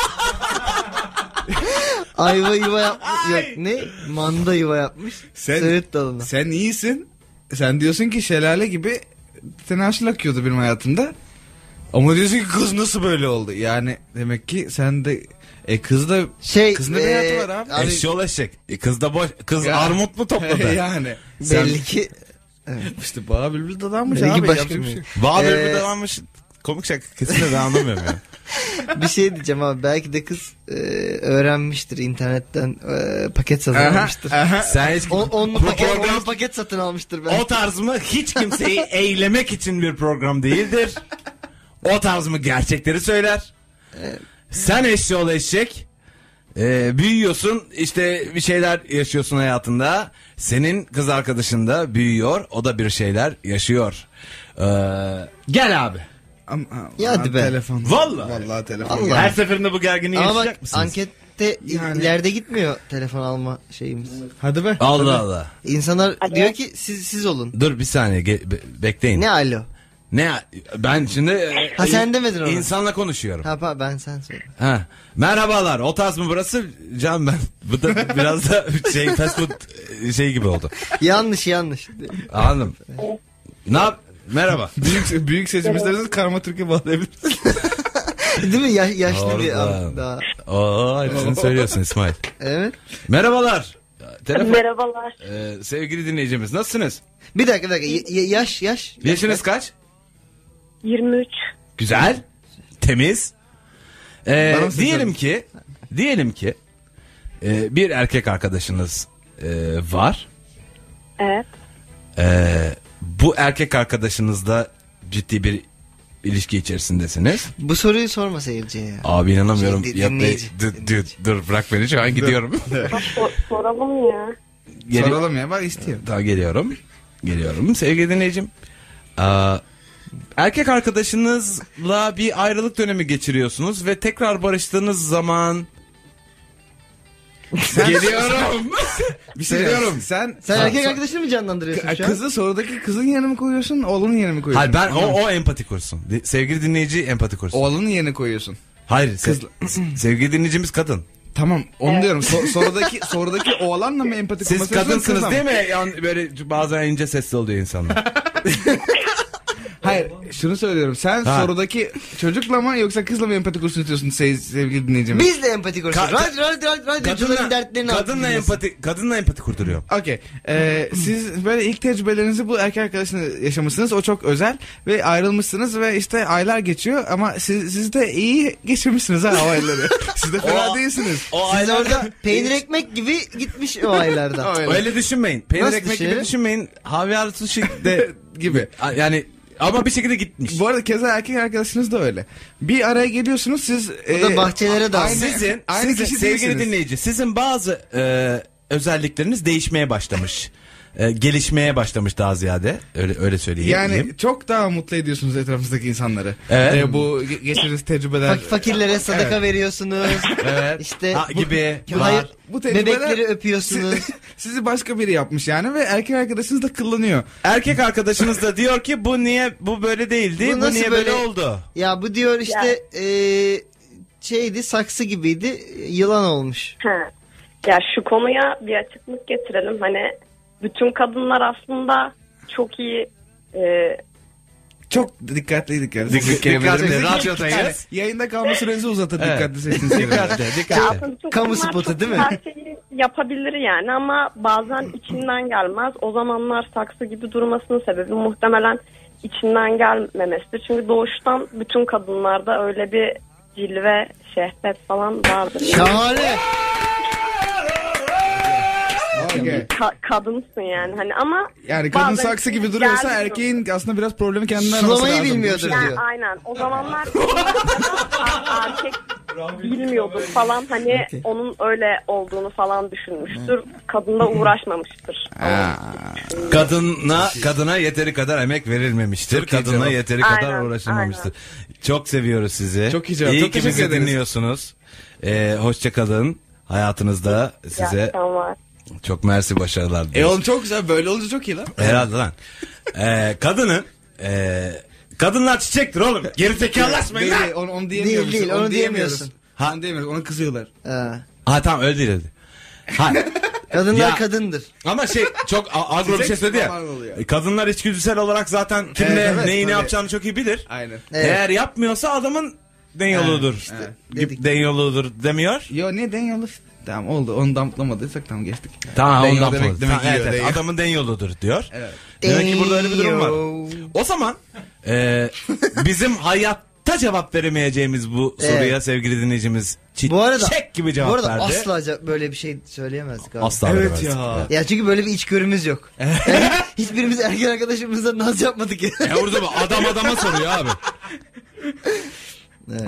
Ayva yuva yapmış. Yok ne? Manda yuva yapmış.
Sen-
Söğüt dalına.
sen iyisin sen diyorsun ki şelale gibi tenaşıl akıyordu benim hayatımda ama diyorsun ki kız nasıl böyle oldu yani demek ki sen de e kız da
Şey,
kızın da bir hayatı
e,
var abi.
Abi-
Eşyol eşek. E, Kız da boş. Kız
Ya.
armut mu topladı?
yani sen
Belli ki
işte bağa bülbül dadanmış
Belli ki
abi
başka
yapacak bir
bir-
şey.
Bağ
Ee,
bölümü devammış. Komik şaka kesinlikle ben anlamıyorum ya.
bir şey diyeceğim ama belki de kız e, öğrenmiştir internetten e, paket satın
Aha,
almıştır.
aha.
Sen hiç
On, onlu, paket,
program-
onlu paket satın almıştır belki.
o tarz mı hiç kimseyi eğlemek için bir program değildir. O tarz mı gerçekleri söyler. Sen eşyol eşek. Ee, büyüyorsun işte bir şeyler yaşıyorsun hayatında. Senin kız arkadaşın da büyüyor. O da bir şeyler yaşıyor. Ee, gel abi.
Ama- ama-
Ya hadi be.
Telefon.
Vallahi.
Vallahi telefon.
Allah.
Her seferinde bu gerginliği
ama
yaşayacak
bak
mısınız?
ankette
Yani.
ileride gitmiyor telefon alma şeyimiz.
Hadi be.
Allah Allah.
İnsanlar diyor ki siz siz olun.
Dur bir saniye ge- be- bekleyin.
Ne
Ne?
alo?
Ben şimdi e,
Ha, sen demedin onu.
İnsanla konuşuyorum.
Ha pa- ben sen söyle.
Ha. Merhabalar. O tarz mı burası? Can ben. Bu da biraz da şey fast food e, şey gibi oldu.
yanlış yanlış.
Anladım. Ne yap? Merhaba.
Büyük, büyük seçim isterseniz Karma Türkiye bağlayabilirsiniz.
Değil mi? Ya- yaşlı bir
Oradan.
adam daha.
Oo, hepsini söylüyorsun İsmail.
Evet.
Merhabalar. Telefon.
Merhabalar.
Ee, sevgili dinleyicimiz nasılsınız?
Bir dakika bir dakika. Y- y- yaş yaş.
Yaşınız kaç?
23.
Güzel. Temiz. Ee,
Bana mı
diyelim
seslendin?
ki diyelim ki e, bir erkek arkadaşınız e, var.
Evet.
E, bu erkek arkadaşınızda ciddi bir ilişki içerisindesiniz.
Bu soruyu sorma seyirciye ya.
Abi inanamıyorum.
Şey, di-
Yap-
dinleyici,
dur, dur, dur, bırak beni şu an gidiyorum.
Sor- soralım ya.
Gel-
Soralım ya bak istiyor.
Daha geliyorum. Geliyorum. Sevgili dinleyicim. Aa, erkek arkadaşınızla bir ayrılık dönemi geçiriyorsunuz ve tekrar barıştığınız zaman... geliyorum.
Bir
şey diyeceğim.
Sen,
Sen
Ha,
erkek
so-
arkadaşını mı canlandırıyorsun şu an?
Kızı sorudaki kızın yerine mi koyuyorsun, oğlunun yerine mi koyuyorsun?
Hayır ben o, o empati kursun. Di- Sevgili dinleyici empati kursun.
Oğlunun yerine koyuyorsun.
Hayır se- se- sevgili dinleyicimiz kadın.
Tamam onu diyorum. So- sorudaki sorudaki oğlanla mı empati
Siz
kurması yapıyorsun,
kadınsınız
kızla
değil mi? Yani böyle bazen ince sesli oluyor insanlar.
Hayır şunu söylüyorum. Sen
Ha.
sorudaki çocukla mı yoksa kızla mı empati kursun istiyorsun se- sevgili dinleyicimiz?
Biz de empati konuşuyoruz.
Ka-
Radyo, radyo, radyo, radyocuların dertlerini
kadınla
anlatıyoruz.
empati kadınla empati kurduruyor.
Okey. Ee, siz böyle ilk tecrübelerinizi bu erkek arkadaşınızla yaşamışsınız. O çok özel ve ayrılmışsınız ve işte aylar geçiyor ama siz, siz de iyi geçirmişsiniz ha o ayları. siz de fena
O-
değilsiniz.
O
Siz orada peynir ekmek gibi gitmiş o aylardan.
O aylar.
Öyle düşünmeyin. Peynir
Nasıl
ekmek
şey?
gibi düşünmeyin. Havyar sushi de gibi. A- Yani ama bir şekilde gitmiş.
Bu arada keza erkek arkadaşınız da öyle. Bir araya geliyorsunuz siz... e,
O da bahçelere dağılmış.
sizin,
aynı
sizin-
kişi
sevgili
değilsiniz.
dinleyici, sizin bazı e, özellikleriniz değişmeye başlamış. E, gelişmeye başlamış daha ziyade. Öyle öyle söyleyeyim.
Yani çok daha mutlu ediyorsunuz etrafınızdaki insanları.
Evet.
Ee, bu ge- geçirdiğiniz tecrübeler.
Fak- fakirlere sadaka veriyorsunuz.
evet.
İşte
Ha,
bu-
gibi
bu-
var.
hayır,
Bu tecrübeler-
bebekleri öpüyorsunuz.
Sizi başka biri yapmış yani ve erkek arkadaşınız da kullanıyor.
Erkek arkadaşınız da diyor ki bu niye bu böyle değildi?
Bu
Bu,
nasıl
niye böyle,
böyle-
oldu?
ya bu diyor işte eee, şeydi saksı gibiydi yılan olmuş.
Ha. Ya şu konuya bir açıklık getirelim. Hani bütün kadınlar aslında çok iyi e,
Çok dikkatliydik yani.
Dikkat-
Sizin kelimelerinizi-
dikkatli, radyodayız.
Yani yayında kalma sürenizi uzatın
Evet.
dikkatli seçtiğiniz kelimeler.
dikkat.
Kamu
Aslında kadınlar
spotu
çok
değil mi?
Her şeyi yapabilir yani ama bazen içinden gelmez. O zamanlar saksı gibi durmasının sebebi muhtemelen içinden gelmemesidir. Çünkü doğuştan bütün kadınlarda öyle bir cilve, şehvet falan vardır.
Şahane.
Okey.
Ka- kadınsın yani hani ama
Yani kadın
bazen
saksı gibi duruyorsa
gelmiyor.
erkeğin aslında biraz problemi kendinden
Sulamayı
araması lazım.
bilmiyordur.
Yani
diyor.
aynen. O zamanlar erkek bilmiyordur falan hani onun öyle olduğunu falan düşünmüştür. Kadında uğraşmamıştır.
Aa,
Kadına kadına yeteri kadar emek verilmemiştir.
Çok iyi
kadına
cevap.
yeteri kadar
Aynen,
uğraşılmamıştır. Çok seviyoruz sizi.
Çok iyi cevap.
İyi
Çok
ki bizi
teşekkür ederiz.
dinliyorsunuz. Ee, hoşça kalın. Hayatınızda size
Gerçekten var.
çok mersi başarılar
E
diliyorum.
oğlum çok güzel böyle olunca çok iyi lan.
Herhalde lan. Ee, kadının ee, kadınlar çiçektir oğlum. Geri zekalaşmayın
Değil,
lan.
değil, onu, onu diyemiyoruz.
değil, onu
diyemiyoruz.
diyemiyorsun.
Ha. Onu diyemiyoruz. Ona kızıyorlar.
Ha.
Ha tamam öyle değil. öyle değil. Ha,
Kadınlar
Ya-
kadındır.
ama şey çok a- agro bir şey söyledi ya.
Normal oluyor.
Kadınlar içgüdüsel olarak zaten kimle
Evet, evet,
neyi ne
tabii.
yapacağını çok iyi bilir.
Aynen.
Evet.
Eğer yapmıyorsa adamın den yoludur. İşte,
dedik.
gip- den yoludur demiyor.
Yo ne den yolu? Tamam oldu. Onu damplamadıysak tamam geçtik.
Tamam
Den yolu
ondan
demek-
sonra.
demek
Tamam,
yiyor,
evet, evet,
den yolu.
adamın den yoludur diyor.
Evet.
Demek ki burada öyle bir durum var.
Eyo.
O zaman e, bizim hayatta cevap veremeyeceğimiz bu soruya
Evet.
sevgili dinleyicimiz çiçek
Bu arada
gibi cevap
bu arada
verdi.
asla ce- böyle bir şey söyleyemezdik abi.
Asla
Evet
veremezdik.
ya.
Ya çünkü böyle bir içgörümüz yok. Yani hiçbirimiz erkek arkadaşımızla naz yapmadık ya.
E orada bak, adam adama soruyor abi.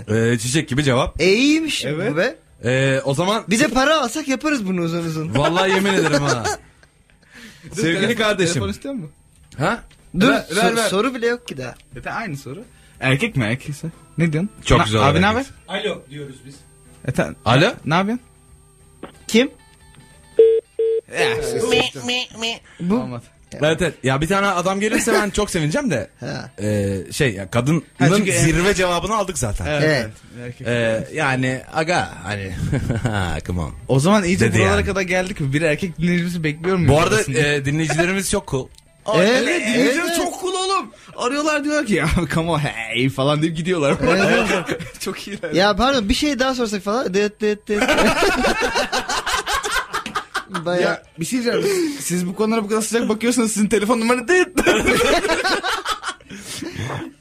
Evet.
E, çiçek gibi cevap.
E iyiymiş
Evet.
bu be.
E, o zaman
Bize para alsak yaparız bunu uzun uzun.
vallahi yemin ederim ha.
Dur,
Sevgili
telefon-
kardeşim.
Telefon istiyor mu?
ha?
Dur
Ver,
so-
ver, ver.
soru bile yok ki daha.
Zaten Aynı soru. Erkek mi erkekse? Ne diyorsun?
Çok
Na-
güzel
Abi
hareket.
ne haber?
Alo diyoruz biz.
E, ta-
Alo?
Ne yapıyorsun?
Kim?
Ya,
Bu
Olmadı.
Evet, evet. Ya bir tane adam gelirse ben çok sevineceğim de.
Ha.
Ee, şey ya kadının
Ha, çünkü-
zirve cevabını aldık zaten.
Evet.
Erkek.
Ee, yani aga hani come on.
O zaman iyice
Dedi
buralara
yani.
kadar geldik mi? Bir erkek dinleyicimizi bekliyor muyuz?
Bu arada
aslında?
e, dinleyicilerimiz çok cool.
Ay,
Evet,
evet, dinleyiciler
evet.
çok cool oğlum. Arıyorlar diyorlar ki ya come on hey falan deyip gidiyorlar. çok iyiler.
Ya pardon bir şey daha sorsak falan. Dıt dıt dıt. Baya
Ya bir şey diyeceğim. Siz bu konulara bu kadar sıcak bakıyorsanız sizin telefon numaranız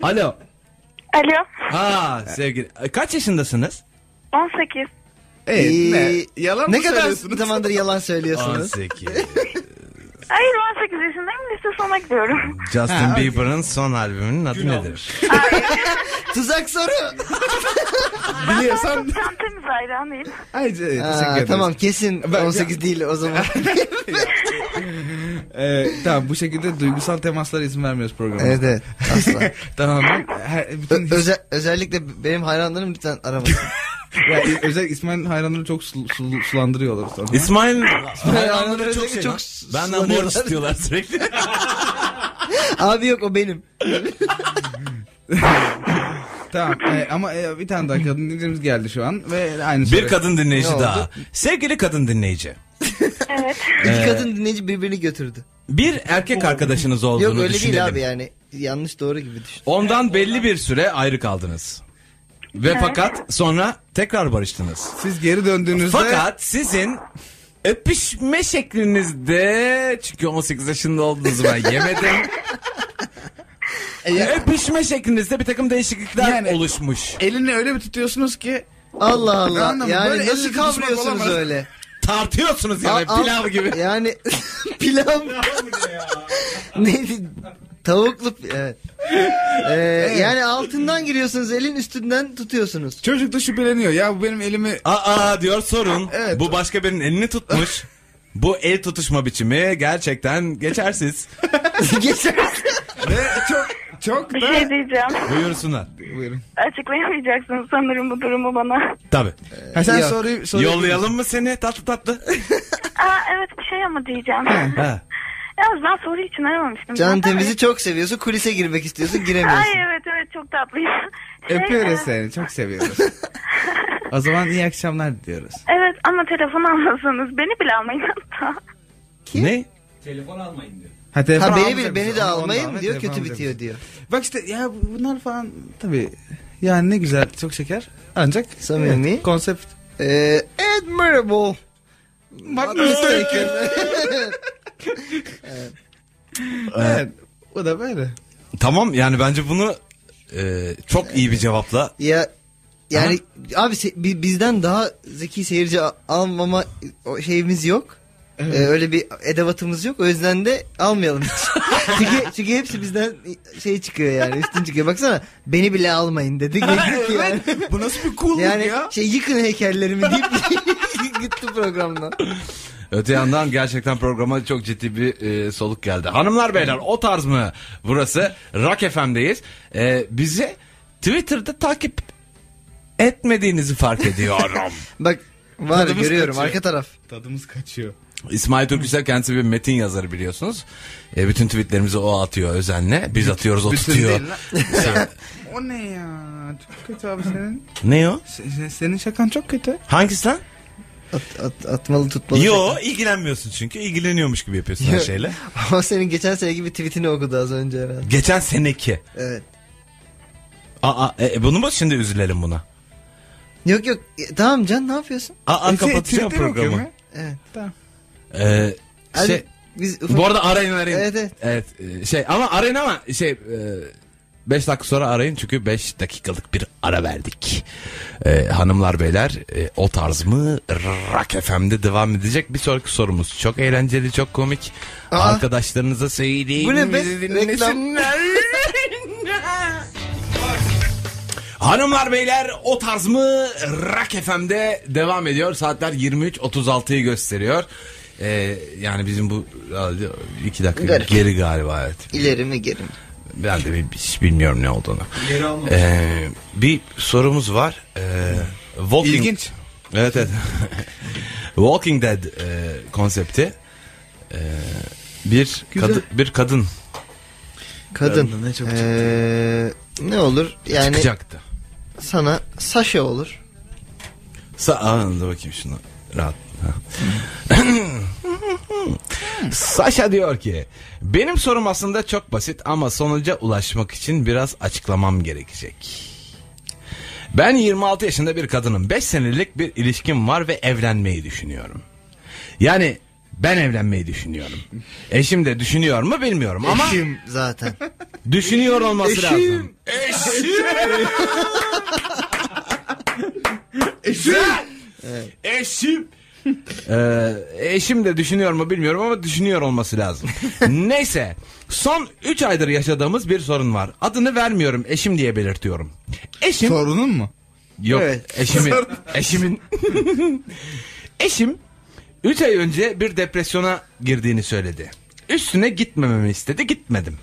Alo.
Alo.
Ha sevgili. E, Kaç yaşındasınız?
18.
Evet,
Ee,
ne? Yalan
ne
mı
kadar
söylüyorsunuz?
zamandır yalan söylüyorsunuz?
18.
Hayır 18 yaşındayım lise sona gidiyorum.
Justin Bieber'ın son albümünün adı nedir?
Tuzak soru.
Biliyorsan.
Tam temiz hayranıyım.
Ay, teşekkür
Aa,
ederiz.
tamam kesin
Ben-
18 değil o zaman.
Ee, tamam bu şekilde duygusal temaslara izin vermiyoruz programa.
evet evet asla.
Tamam. Her, bütün,
Ö- öze- özellikle benim hayranlarım lütfen aramasın.
yani, özellikle İsmail hayranları çok sul- sul- sulandırıyorlar sonra.
İsmail
Hayranları çok şey.
çok benden
sulanıyorlar.
borç istiyorlar sürekli.
Abi yok o benim.
Tamam e, ama e, bir tane daha kadın dinleyicimiz geldi şu an ve aynı
Bir
soru.
kadın dinleyici
Ne oldu?
daha. Sevgili kadın dinleyici.
Evet.
İki kadın dinleyici birbirini götürdü.
Bir erkek arkadaşınız olduğunu
Yok öyle
düşünelim.
değil abi yani. Yanlış doğru gibi düşün.
Ondan belli bir süre ayrı kaldınız. Ve fakat sonra tekrar barıştınız.
Siz geri döndüğünüzde
Fakat sizin öpüşme şeklinizde çünkü 18 yaşında olduğunuzu ben yemedim.
E,
öpüşme şeklinizde bir takım değişiklikler
Yani-
oluşmuş.
E,
elini öyle bir tutuyorsunuz ki
Allah Allah.
Anladım,
yani
böyle elle
nasıl
tutuşmak
kavruyorsunuz
olamaz.
öyle?
Tartıyorsunuz yani
Al- al-
pilav gibi.
Yani pilav. Neydi? Tavuklu pi- evet. Ee, Yani altından giriyorsunuz elin üstünden tutuyorsunuz.
çocuk da şüpheleniyor ya bu benim elimi
Aa diyor sorun.
Evet.
Bu başka birinin elini tutmuş. Bu el tutuşma biçimi gerçekten geçersiz.
Geçer.
ve çok çok
Bir
da
şey diyeceğim.
Buyursunlar.
buyurun.
Açıklayamayacaksınız sanırım bu durumu bana.
Tabii.
Ha, sen
Yok.
soruyu, soruyu
Yollayalım mı seni tatlı tatlı?
Aa evet bir şey ama diyeceğim.
Ha.
Yalnız ben soru için aramamıştım.
Can
zaten. hani-
Temiz'i çok seviyorsun kulise girmek istiyorsun
Ay
giremiyorsun.
evet evet çok tatlıyım. Şey,
öpüyoruz seni
evet,
çok seviyoruz. o zaman iyi akşamlar diyoruz.
Evet ama telefon almasanız beni bile almayın hatta.
Ne?
Ha, telefon
Ha beni,
almayacak
bir- beni
mısın?
de
Onu- onu
almayın
alma,
diyor
telefon
kötü
almayacak
bitiyor
mısın?
diyor.
Bak işte ya bu- bunlar falan tabii yani ne güzel çok şeker ancak
Samimi.
evet, konsept
Ee, admirable.
Bak mistaken. Evet. O da böyle.
Tamam yani bence bunu e, çok iyi bir cevapla.
Ya yani abi se- bi- bizden daha zeki seyirci a- almama o şeyimiz yok. Ee, öyle bir edevatımız yok. O yüzden de almayalım hiç. çünkü, çünkü hepsi bizden şey çıkıyor yani. Üstün çıkıyor. Baksana beni bile almayın dedi. Gittik yani.
Bu nasıl bir cool
yani şey yıkın heykellerimi deyip gitti programdan.
Öte yandan gerçekten programa çok ciddi bir e, soluk geldi. Hanımlar beyler o tarz mı? Burası Rock FM'deyiz. E, bizi Twitter'da takip etmediğinizi fark ediyorum.
Bak var
Tadımız
görüyorum
kaçıyor.
arka taraf.
Tadımız kaçıyor.
İsmail Türküsel kendisi bir metin yazarı biliyorsunuz. E, bütün tweetlerimizi o atıyor özenle. Biz atıyoruz o
Bütün
tutuyor.
değil lan. o ne ya? Çok kötü abi senin.
ne o?
Se- se- Senin şakan çok kötü.
Hangisi lan?
At, at- atmalı tutmalı.
Yo ilgilenmiyorsun çünkü. ilgileniyormuş gibi yapıyorsun her
Yok.
şeyle.
Ama senin geçen seneki bir tweetini okudu az önce herhalde.
Geçen seneki.
Evet.
Aa, e, bunu mu şimdi üzülelim buna?
Yok yok E, tamam Can ne yapıyorsun?
Aa,
E, se-
kapatacağım
Twitter okuyor
programı.
mu?
Evet.
Ee,
Hadi
şey,
biz ufak-
bu arada arayın arayın.
Evet, evet.
e, şey ama arayın ama şey 5 dakika sonra arayın çünkü 5 dakikalık bir ara verdik. Ee, hanımlar beyler e, o tarz mı Rock FM'de devam edecek. Bir sonraki sorumuz çok eğlenceli çok komik.
Aa.
Arkadaşlarınıza söyleyin.
Bu ne be?
bizi
Reklam.
dinlesinler. Hanımlar beyler o tarz mı Rock FM'de devam ediyor. Saatler 23.36'yı gösteriyor. Ee, yani bizim bu herhalde iki dakika
Garip.
geri galiba evet.
İleri mi geri mi?
Ben de bir, hiç bilmiyorum ne olduğunu. Ee, bir sorumuz var. Ee, walking...
İlginç.
Evet evet. walking Dead e, konsepti. Ee, bir,
Güzel.
kadı- bir kadın
Kadın.
Ne çok
Ee, ne olur yani
çıkacaktı.
sana Saşa olur.
Sa Aa, dur bakayım şuna. Rahat. Ha. Saşa diyor ki benim sorum aslında çok basit ama sonuca ulaşmak için biraz açıklamam gerekecek. Ben 26 yaşında bir kadınım. 5 senelik bir ilişkim var ve evlenmeyi düşünüyorum. Yani ben evlenmeyi düşünüyorum. Eşim de düşünüyor mu bilmiyorum ama
Eşim zaten.
düşünüyor olması lazım. Eşim. Eşim. Eşim. Ee, eşim de düşünüyor mu bilmiyorum ama düşünüyor olması lazım. Neyse son 3 aydır yaşadığımız bir sorun var. Adını vermiyorum eşim diye belirtiyorum. Eşim
Sorunun mu?
Yok
Evet.
eşimin. eşimin. Eşim 3 ay önce bir depresyona girdiğini söyledi. Üstüne gitmememi istedi gitmedim.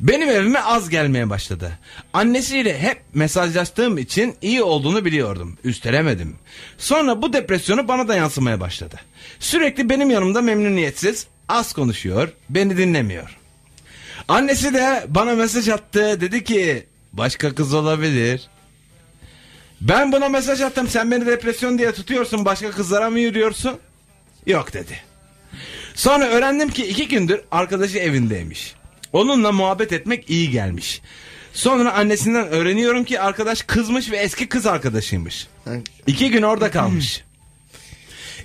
Benim evime az gelmeye başladı. Annesiyle hep mesajlaştığım için iyi olduğunu biliyordum. Üstelemedim. Sonra bu depresyonu bana da yansımaya başladı. Sürekli benim yanımda memnuniyetsiz, az konuşuyor, beni dinlemiyor. Annesi de bana mesaj attı. Dedi ki başka kız olabilir. Ben buna mesaj attım. Sen beni depresyon diye tutuyorsun. Başka kızlara mı yürüyorsun? Yok dedi. Sonra öğrendim ki iki gündür arkadaşı evindeymiş. Onunla muhabbet etmek iyi gelmiş. Sonra annesinden öğreniyorum ki arkadaş kızmış ve eski kız arkadaşıymış. İki gün orada kalmış.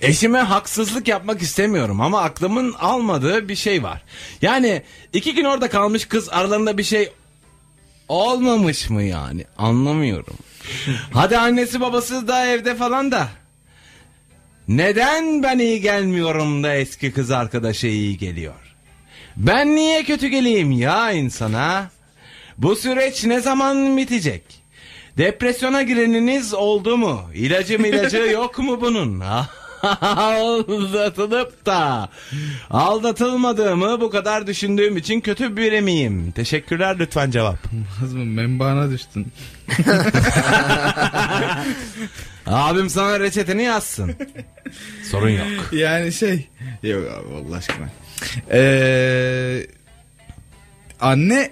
Eşime haksızlık yapmak istemiyorum ama aklımın almadığı bir şey var. Yani iki gün orada kalmış kız aralarında bir şey olmamış mı yani? Anlamıyorum. Hadi annesi babası da evde falan da. Neden ben iyi gelmiyorum da eski kız arkadaşa iyi geliyor? Ben niye kötü geleyim ya insana? Bu süreç ne zaman bitecek? Depresyona gireniniz oldu mu? İlacı ilacı yok mu bunun? Aldatılıp da aldatılmadığımı bu kadar düşündüğüm için kötü biri miyim? Teşekkürler lütfen cevap.
Nazım membana düştün.
Abim sana reçeteni yazsın. Sorun yok.
Yani şey. Yok abi Allah aşkına. Ee, anne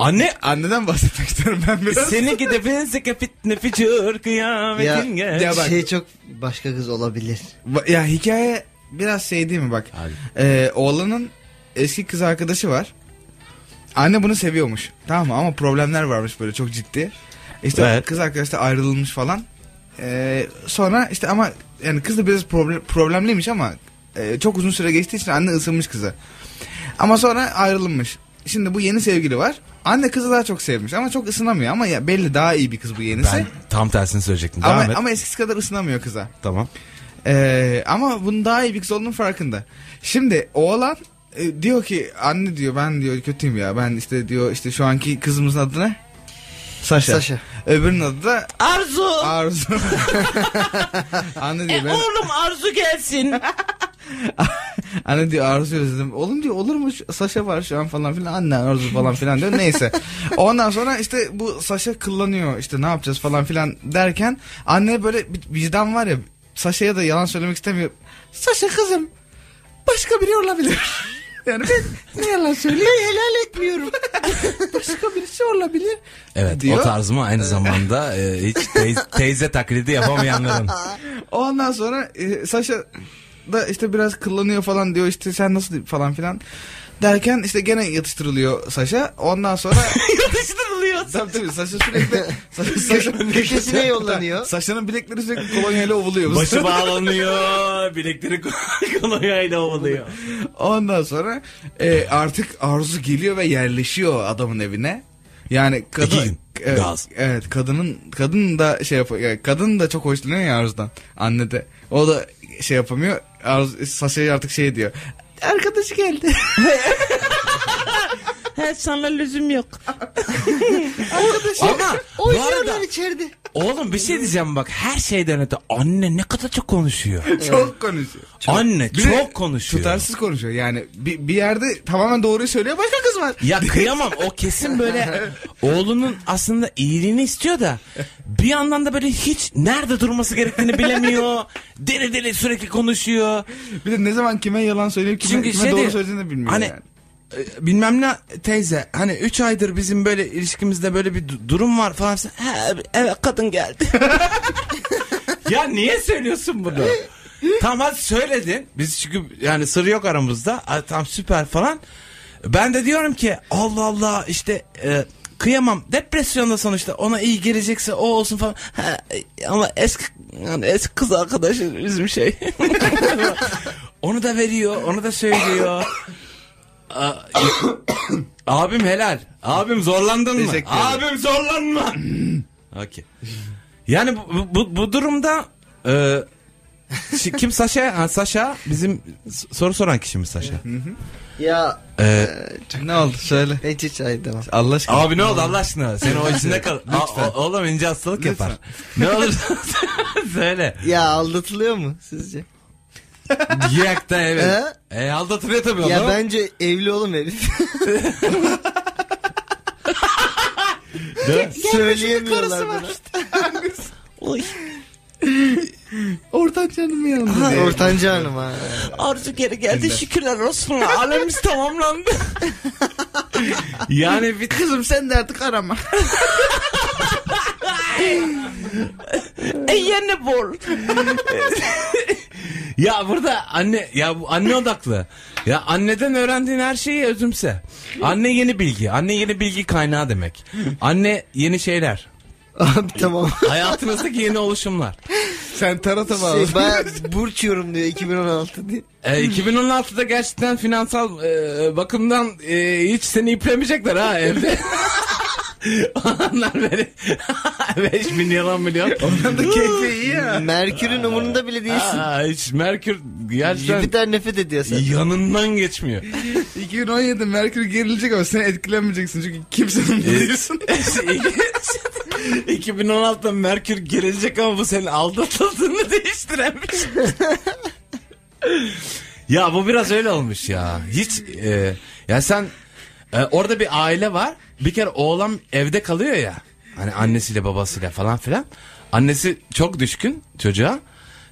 Anne
anneden bahsetmek istiyorum ben biraz.
seni gidebilse kapit nefiçur kıyametin
Ya-
gel.
Ya bak-
Şey çok başka kız olabilir.
Ba- Ya hikaye biraz şey değil mi bak. Ee, oğlanın eski kız arkadaşı var. Anne bunu seviyormuş. Tamam mı? Ama problemler varmış böyle çok ciddi. İşte
Evet.
kız arkadaş da ayrılmış falan. Ee, sonra işte ama yani kız da biraz problem, problemliymiş ama e, çok uzun süre geçtiği için anne ısınmış kıza. Ama sonra ayrılmış. Şimdi bu yeni sevgili var. Anne kızı daha çok sevmiş ama çok ısınamıyor ama ya belli daha iyi bir kız bu yenisi.
Ben tam tersini söyleyecektim. Devam
ama,
et.
ama eskisi kadar ısınamıyor kıza.
Tamam.
Ee, ama bunun daha iyi bir kız olduğunun farkında. Şimdi oğlan e, diyor ki anne diyor ben diyor kötüyüm ya ben işte diyor işte şu anki kızımızın adı ne? Saşa.
Saşa.
Öbürünün adı da
Arzu. E,
Arzu. anne diyor ben
Oğlum Arzu gelsin.
anne diyor Arzu özledim. Oğlum diyor olur mu Şu- Saşa var şu an falan filan anne Arzu falan filan diyor neyse. Ondan sonra işte bu Saşa kullanıyor işte ne yapacağız falan filan derken anne böyle bir vicdan var ya Saşa'ya da yalan söylemek istemiyor. Saşa kızım başka biri olabilir. Yani ben ne yalan söyleyeyim. helal etmiyorum. Başka birisi olabilir.
Evet
Diyor.
o tarzımı aynı zamanda e, hiç teyze, teyze taklidi yapamayanların.
Ondan sonra e, Saşa da işte biraz kullanıyor falan diyor işte sen nasıl falan filan derken işte gene yatıştırılıyor Saşa. Ondan sonra yatıştırılıyor. Tabii tabii Saşa sürekli Sa- Saşa-
Köşesine yollanıyor.
Saşa'nın bilekleri sürekli kolonyayla ovuluyor.
Başı bağlanıyor. Bilekleri kolonyayla ovuluyor.
Ondan sonra e, artık Arzu geliyor ve yerleşiyor adamın evine. Yani kadın
İki gün.
Evet,
Gaz.
evet, kadının kadın da şey yapıyor. yani kadın da çok hoşlanıyor ya Arzu'dan. Anne de. O da şey yapamıyor. Arzu Saşa'ya artık şey diyor. Arkadaşı geldi.
He sana lüzum yok.
Ama bu arada
Oynuyorlar içeride.
oğlum bir şey diyeceğim bak her şeyden öte anne ne kadar çok konuşuyor.
çok konuşuyor.
anne
Bir de
çok konuşuyor.
Tutarsız konuşuyor. Yani bir, bir yerde tamamen doğruyu söylüyor. Başka kız var.
Ya kıyamam o kesin böyle oğlunun aslında iyiliğini istiyor da bir yandan da böyle hiç nerede durması gerektiğini bilemiyor. Deli deli sürekli konuşuyor.
Bir de ne zaman kime yalan söyleyip kime,
Çünkü
kime
şey
doğru
diyor,
söylediğini de bilmiyor
hani-
yani.
E, bilmem ne teyze hani 3 aydır bizim böyle ilişkimizde böyle bir du- durum var falan. filan. Ha, evet kadın geldi. ya niye söylüyorsun bunu? tamam hadi söyledin. Biz çünkü yani sır yok aramızda. Ha, Tam süper falan. Ben de diyorum ki Allah Allah işte e, kıyamam. Depresyonda sonuçta ona iyi gelecekse o olsun falan. Ha, e, ama eski yani eski kız arkadaşı bizim şey. onu da veriyor, onu da söylüyor. Aa, Abim helal. Abim zorlandın mı?
Teşekkür ederim.
Abim zorlanma. Okey. Yani bu, bu, bu durumda e, Şi- Kim Saşa? Ha, Saşa bizim s- soru soran kişi mi Saşa?
Ya
Ee,
ne oldu söyle.
hiç hiç hayır devam.
Allah aşkına.
abi ne oldu Allah aşkına? Sen o içinde kal. Lütfen. oğlum ince hastalık yapar. Ne olur söyle.
Ya aldatılıyor mu sizce?
Yak da evet.
He?
E aldatılıyor tabii oğlum.
Ya bence evli oğlum herif. Söyleyemiyorlar bana.
Oy,
Oradan canım yandı.
Ha, Ortanca Hanım ha.
Arzu geri geldi şükürler olsun. Alemiz tamamlandı.
Yani bir
Kızım sen de artık arama.
e yeni bol.
Ya burada anne ya bu anne odaklı. Ya anneden öğrendiğin her şeyi özümse. Anne yeni bilgi. Anne yeni bilgi kaynağı demek. Anne yeni şeyler.
Abi tamam.
Hayatınızdaki yeni oluşumlar.
Sen tarata bağlı.
Şey, baya burç yorum diyor 2016 diye.
E, 2016'da gerçekten finansal e, bakımdan e, hiç seni iplemeyecekler ha evde. Onlar böyle 5 milyon 10 milyon.
Ondan da keyfi iyi ya.
Merkür'ün umurunda bile değilsin.
Aa, hiç Merkür gerçekten
Jüpiter nefret ediyor sen.
yanından geçmiyor.
2017 Merkür gerilecek ama sen etkilenmeyeceksin çünkü kimsenin
Ee,
biliyorsun.
2016'da Merkür gelecek ama bu senin aldatıldığını değiştiremiş. ya bu biraz öyle olmuş ya. Hiç e, ya sen e, orada bir aile var. Bir kere oğlan evde kalıyor ya. Hani annesiyle babasıyla falan filan. Annesi çok düşkün çocuğa.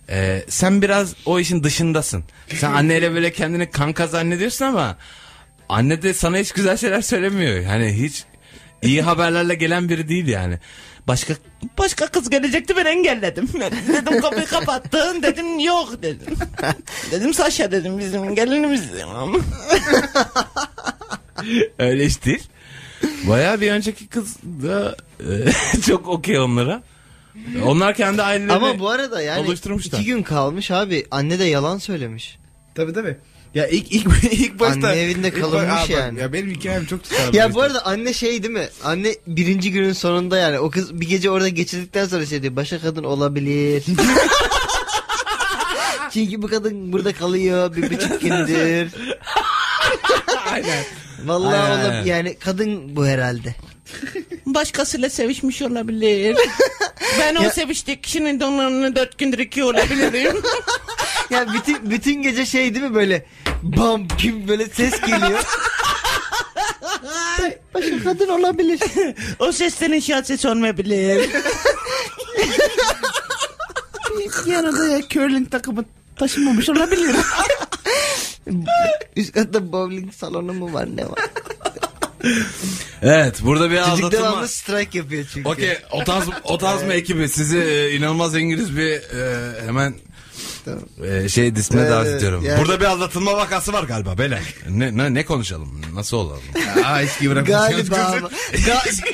E, sen biraz o işin dışındasın. Sen anneyle böyle kendini kanka zannediyorsun ama anne de sana hiç güzel şeyler söylemiyor. Hani hiç iyi haberlerle gelen biri değil yani. Başka
Başka kız gelecekti ben engelledim. Dedim kapıyı kapattın dedim yok dedim. Dedim Saşa dedim bizim gelinimiz dedim ama.
Öyle iş değil. Baya bir önceki kız da e, çok okey onlara. Onlar kendi ailelerini...
Ama bu arada yani
Oluşturmuşlar.
iki gün kalmış abi. Anne de yalan söylemiş.
tabii tabii. Ya ilk ilk ilk başta
Anne evinde
ilk
kalınmış
bak- Aa, bak,
yani.
Ya benim hikayem çok tutarlı.
Ya bu arada anne şey değil mi? Anne birinci günün sonunda yani o kız bir gece orada geçirdikten sonra şey diyor. Başka kadın olabilir. Çünkü bu kadın burada kalıyor bir buçuk gündür.
Aynen.
Vallahi
Aynen,
olab-
aynen.
yani kadın bu herhalde.
Başkasıyla sevişmiş olabilir. Ben o seviştiği kişinin donlarını dört gündür iki olabilirim.
Ya bütün bütün gece şey değil mi böyle bam kim böyle ses geliyor. Başka kadın olabilir.
o seslerin şahit sesi olmayabilir.
arada ya curling takımı taşımamış olabilir.
Üst katta bowling salonu mu var ne var?
Evet burada bir
Çocuk
aldatılma...
devamlı strike yapıyor çünkü.
Okey o tarz, o tarz mı ekibi sizi e, inanılmaz İngiliz bir e, hemen
Tamam.
e, şey disme
Evet,
davet ediyorum.
yani-
Burada bir aldatılma vakası var galiba beyler. Ne, ne, ne konuşalım? Nasıl olalım?
Aa eski bırakmış.
Galiba ama. Ga-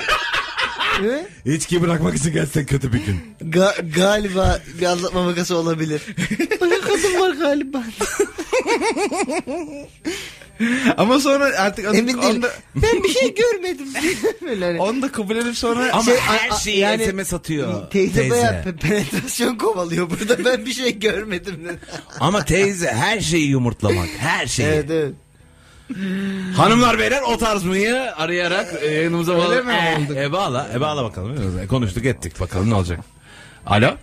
Hı?
İçki bırakmak için gerçekten kötü bir gün.
Ga- galiba bir anlatma makası olabilir. Başka kadın var galiba.
Ama sonra artık onu,
Emin değilim.
onu, da,
Ben bir şey görmedim. Böyle hani.
onu da kabul edip sonra
Ama
Şey,
her
a- a-
şeyi
yani-
SMS atıyor.
Teyze,
teyze.
bayağı pe- penetrasyon kovalıyor burada. Ben bir şey görmedim. dedi.
Ama teyze her şeyi yumurtlamak. Her şeyi.
evet evet.
Hanımlar beyler o tarz mıyı arayarak e, yayınımıza bağlı.
mi oldu?
E, e, bağla, e, bağla bakalım. E, Konuştuk ettik bakalım ne olacak. Alo.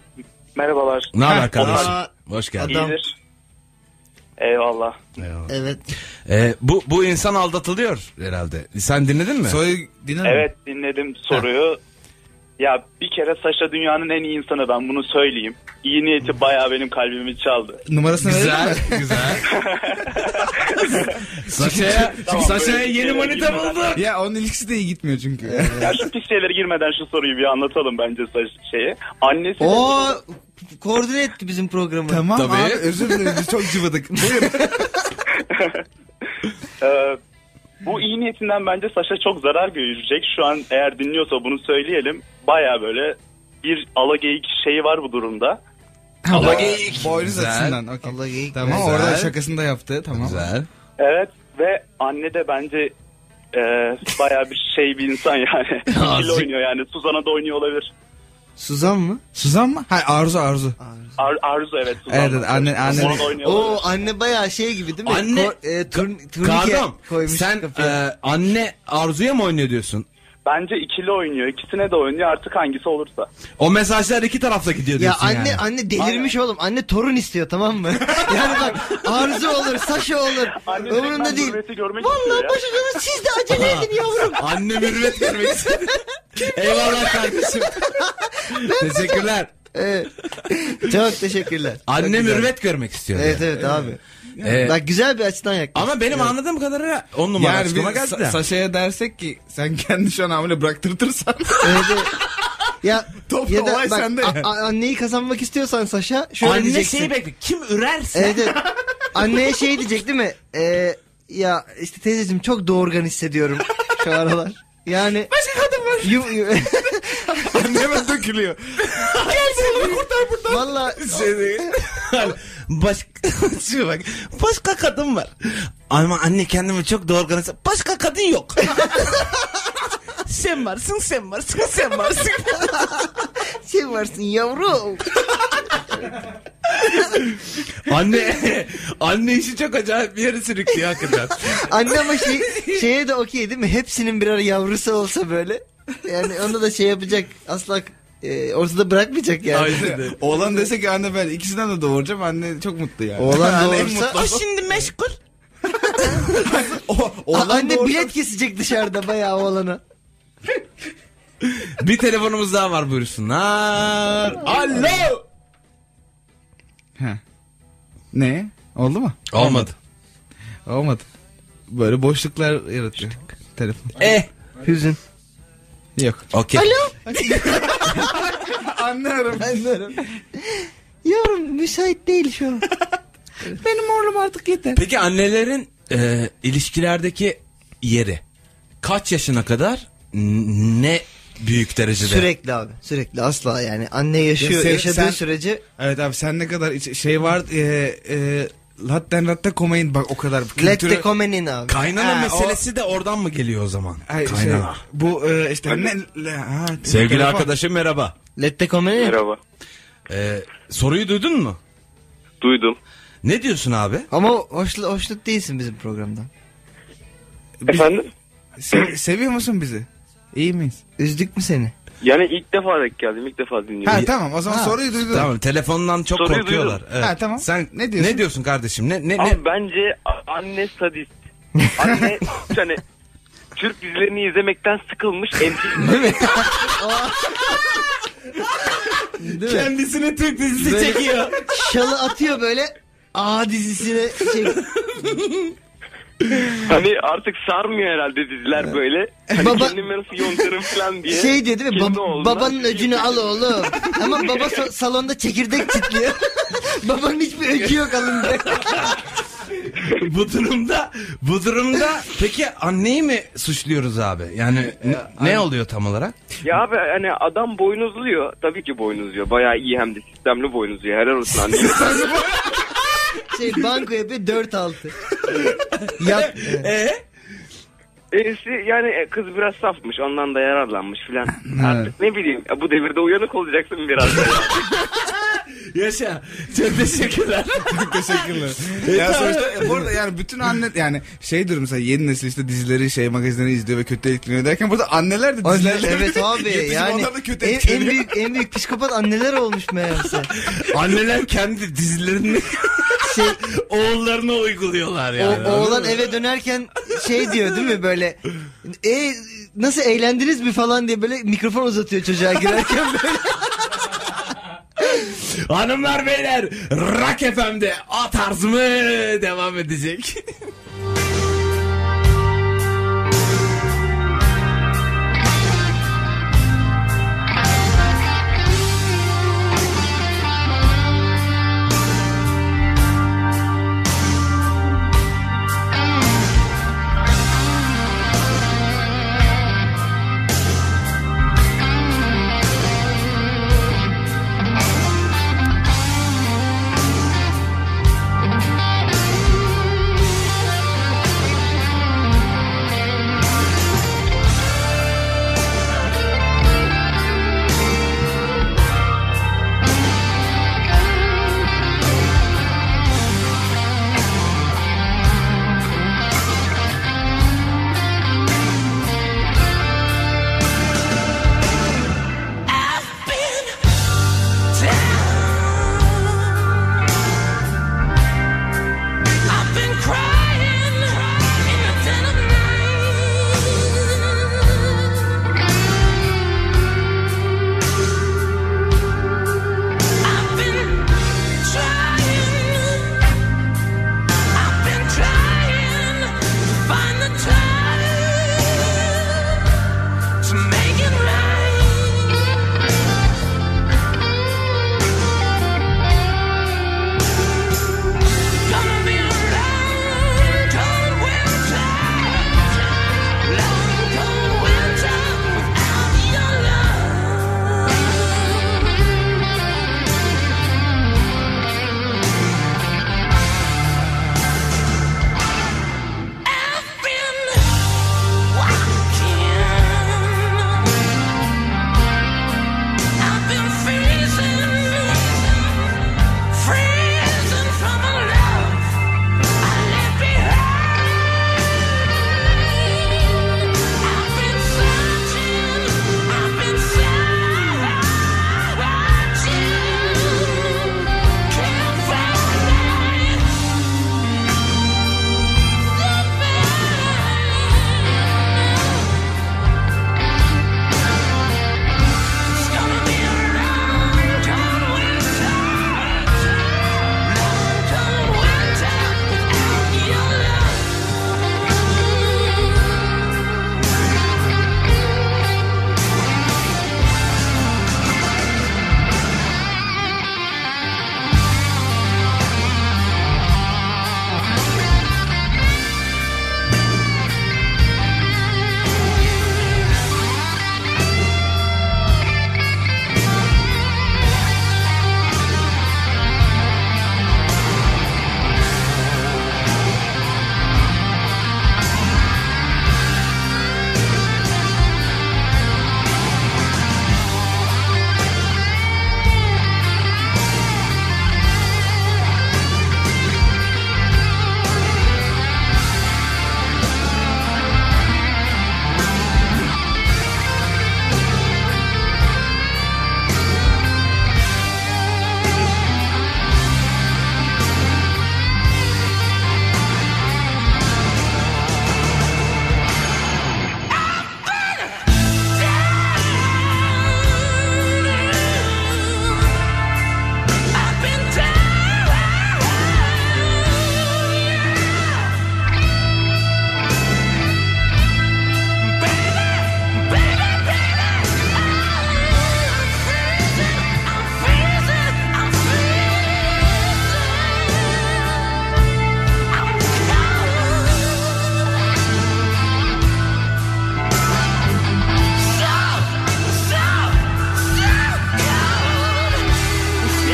Merhabalar.
Ne haber kardeşim?
Aa,
Hoş geldin.
Adam.
İyidir. Eyvallah.
Evet.
E, bu, bu insan aldatılıyor herhalde. Sen dinledin mi?
Soyu dinler mi?
Evet dinledim soruyu. Ya bir kere Saşa dünyanın en iyi insanı ben bunu söyleyeyim. İyi niyeti bayağı benim kalbimi çaldı.
Numarasını verir mi?
güzel, güzel. Saşa'ya
Tamam,
Saşa'ya
böyle
yeni
bir şeylere
manita
girmeden-
bulduk.
Ya onun ilişkisi de iyi gitmiyor çünkü.
Ya şu pis şeylere girmeden şu soruyu bir anlatalım bence Saş şeye. Annesi de-
O koordine etti bizim programı.
tamam
Tabii.
abi özür dilerim biz çok cıvıdık. Buyurun.
Ee, bu iyi niyetinden bence Saşa çok zarar görecek. Şu an eğer dinliyorsa bunu söyleyelim. Bayağı böyle bir alageyik şeyi var bu durumda.
Ama geyik.
Boynuz
Güzel.
açısından. okey.
Allah geyik.
Tamam
Güzel.
orada şakasını da yaptı. Tamam.
Güzel.
Evet ve anne de bence e, bayağı bir şey bir insan yani. İkili oynuyor yani. Suzan'a da oynuyor olabilir.
Suzan mı?
Suzan mı? Ha Arzu Arzu.
Ar- Arzu evet. Suzan.
Evet, evet, anne- anne-
hani
Onun oynuyorlar.
Oo anne bayağı şey gibi değil mi?
Anne-
Ko- e, turn- turnike
Kardam
koymuş
sen
kapıya.
e, anne Arzu'ya mı oynuyor diyorsun?
Bence ikili oynuyor. İkisine de oynuyor artık hangisi olursa.
O mesajlar iki tarafta gidiyor
ya
diyorsun
anne
yani.
anne delirmiş oğlum. Anne torun istiyor tamam mı? yani bak Arzu olur, Saşa olur.
Anne
Ömründe değil.
Görmek istiyor
Vallahi
ya.
başucumuz siz de acele edin yavrum.
Anne mürüvvet görmek istedi. Eyvallah kardeşim. Teşekkürler.
Evet. Çok teşekkürler. Çok
Anne
güzel.
mürüvvet görmek istiyor.
Evet
yani.
evet abi.
Ee,
Bak güzel bir açıdan yaklaştın.
Ama benim anladığım kadarıyla on numara
Yani bir
açıklama geldi de.
Sa- Saşa'ya dersek ki sen kendi şu an hamile bıraktırtırsan.
Evet, evet. ya
Top
ya
olay
da bak,
sende.
a- a- anneyi kazanmak istiyorsan Saşa şöyle
Anne
diyeceksin.
şeyi bekle. Kim ürerse.
Evet, evet. Anneye şey diyecek değil mi? Ee, ya işte teyzeciğim çok doğurgan hissediyorum şu aralar. Yani Başka kadın var. Yu, yu,
Anne hemen dökülüyor.
Valla
Hani
Baş... Şimdi bak. Başka kadın var. Ama anne kendimi çok doğurganı... Başka kadın yok. sen varsın, sen varsın, sen varsın.
sen varsın yavrum.
Anne anne işi çok acayip bir yere sürüklüyor hakikaten.
Anne ama şey, şeye de okey değil mi? Hepsinin birer yavrusu olsa böyle. Yani onu da şey yapacak. Asla e, ortada bırakmayacak yani.
Oğlan dese ki anne ben ikisinden de doğuracağım. Anne çok mutlu yani.
Oğlan
Anne en
doğursa-
mutlu.
O şimdi meşgul.
O-
Aa,
oğlan
anne
doğursa-
bilet kesecek dışarıda bayağı oğlana.
bir telefonumuz daha var buyursunlar. Alo.
Heh. Ne? Oldu mu?
Olmadı.
Olmadı. Böyle boşluklar yaratıyor. Telefon.
Eh.
Hüzün.
Yok.
Okey.
Anlıyorum.
Anlarım. Yavrum müsait değil şu an. Benim oğlum artık yeter.
Peki annelerin e, ilişkilerdeki yeri kaç yaşına kadar n- ne büyük derecede?
Sürekli abi. Sürekli asla yani. Anne yaşıyor.
Ya sen-
yaşadığı
sen-
sürece
Evet abi sen ne kadar iç- şey var e, e, Latten latte komayın bak o kadar.
let
Kültürü-
the comment in abi.
Kaynana
Ha, o-
meselesi de oradan mı geliyor o zaman?
Ay, şey,
Kaynana.
bu e, işte ne, le- ha,
Sevgili
telefon.
arkadaşım merhaba.
let the comment in.
Merhaba.
E, soruyu duydun mu?
Duydum.
Ne diyorsun abi?
Ama hoşlu, hoşnut değilsin bizim programdan.
Efendim?
Se- seviyor musun bizi? İyi miyiz?
Üzdük mü seni?
Yani ilk defa denk geldim. ilk defa dinliyorum.
Ha tamam o zaman
Ha,
soruyu duydun.
Tamam telefondan çok
Soruyu
korkuyorlar. Evet.
Ha, tamam.
Sen
Ne diyorsun?
Ne diyorsun kardeşim? Ne ne ne?
Abi bence a- anne sadist. Anne yani Türk dizilerini izlemekten sıkılmış. Emsi-
Değil mi?
Kendisini Türk dizisi
Böyle-
çekiyor.
Şalı atıyor böyle. A dizisine şey,
hani artık sarmıyor herhalde diziler böyle. Hani
Baba-
kendime nasıl yontarım falan diye.
şey diyor değil mi?
Kendi
Bab-
oğluna-
babanın öcünü al oğlum. Ama baba sa- salonda çekirdek çitliyor. babanın hiçbir öcü yok alında.
bu durumda bu durumda peki anneyi mi suçluyoruz abi? Yani ne, ne oluyor tam olarak?
Ya abi hani adam boynuzluyor. Tabii ki boynuzluyor. Bayağı iyi hem de sistemli boynuzluyor. Helal olsun anne.
Şey banko yapıyor 4-6. Yat.
Ee,
E'si yani e, kız biraz safmış. Ondan da yararlanmış filan. Artık ne bileyim. ya Bu devirde uyanık olacaksın biraz. da.
Yaşa. Çok teşekkürler.
Teşekkürler. E, ya sonuçta bu arada yani bütün anne yani şey durum mesela yeni nesil işte dizileri şey magazinleri izliyor ve kötü etkileniyor derken burada anneler de
Anne-
dizilerle
evet abi
Yetişim
yani
onlar da kötü
en, en
etkileniyor.
büyük en büyük psikopat anneler olmuş meğerse.
Anneler kendi dizilerini
Şey
oğullarına uyguluyorlar
o,
yani.
oğlan eve dönerken şey diyor değil mi böyle e nasıl eğlendiniz mi falan diye böyle mikrofon uzatıyor çocuğa girerken böyle.
Hanımlar beyler Rock FM'de at tarzımı devam edecek.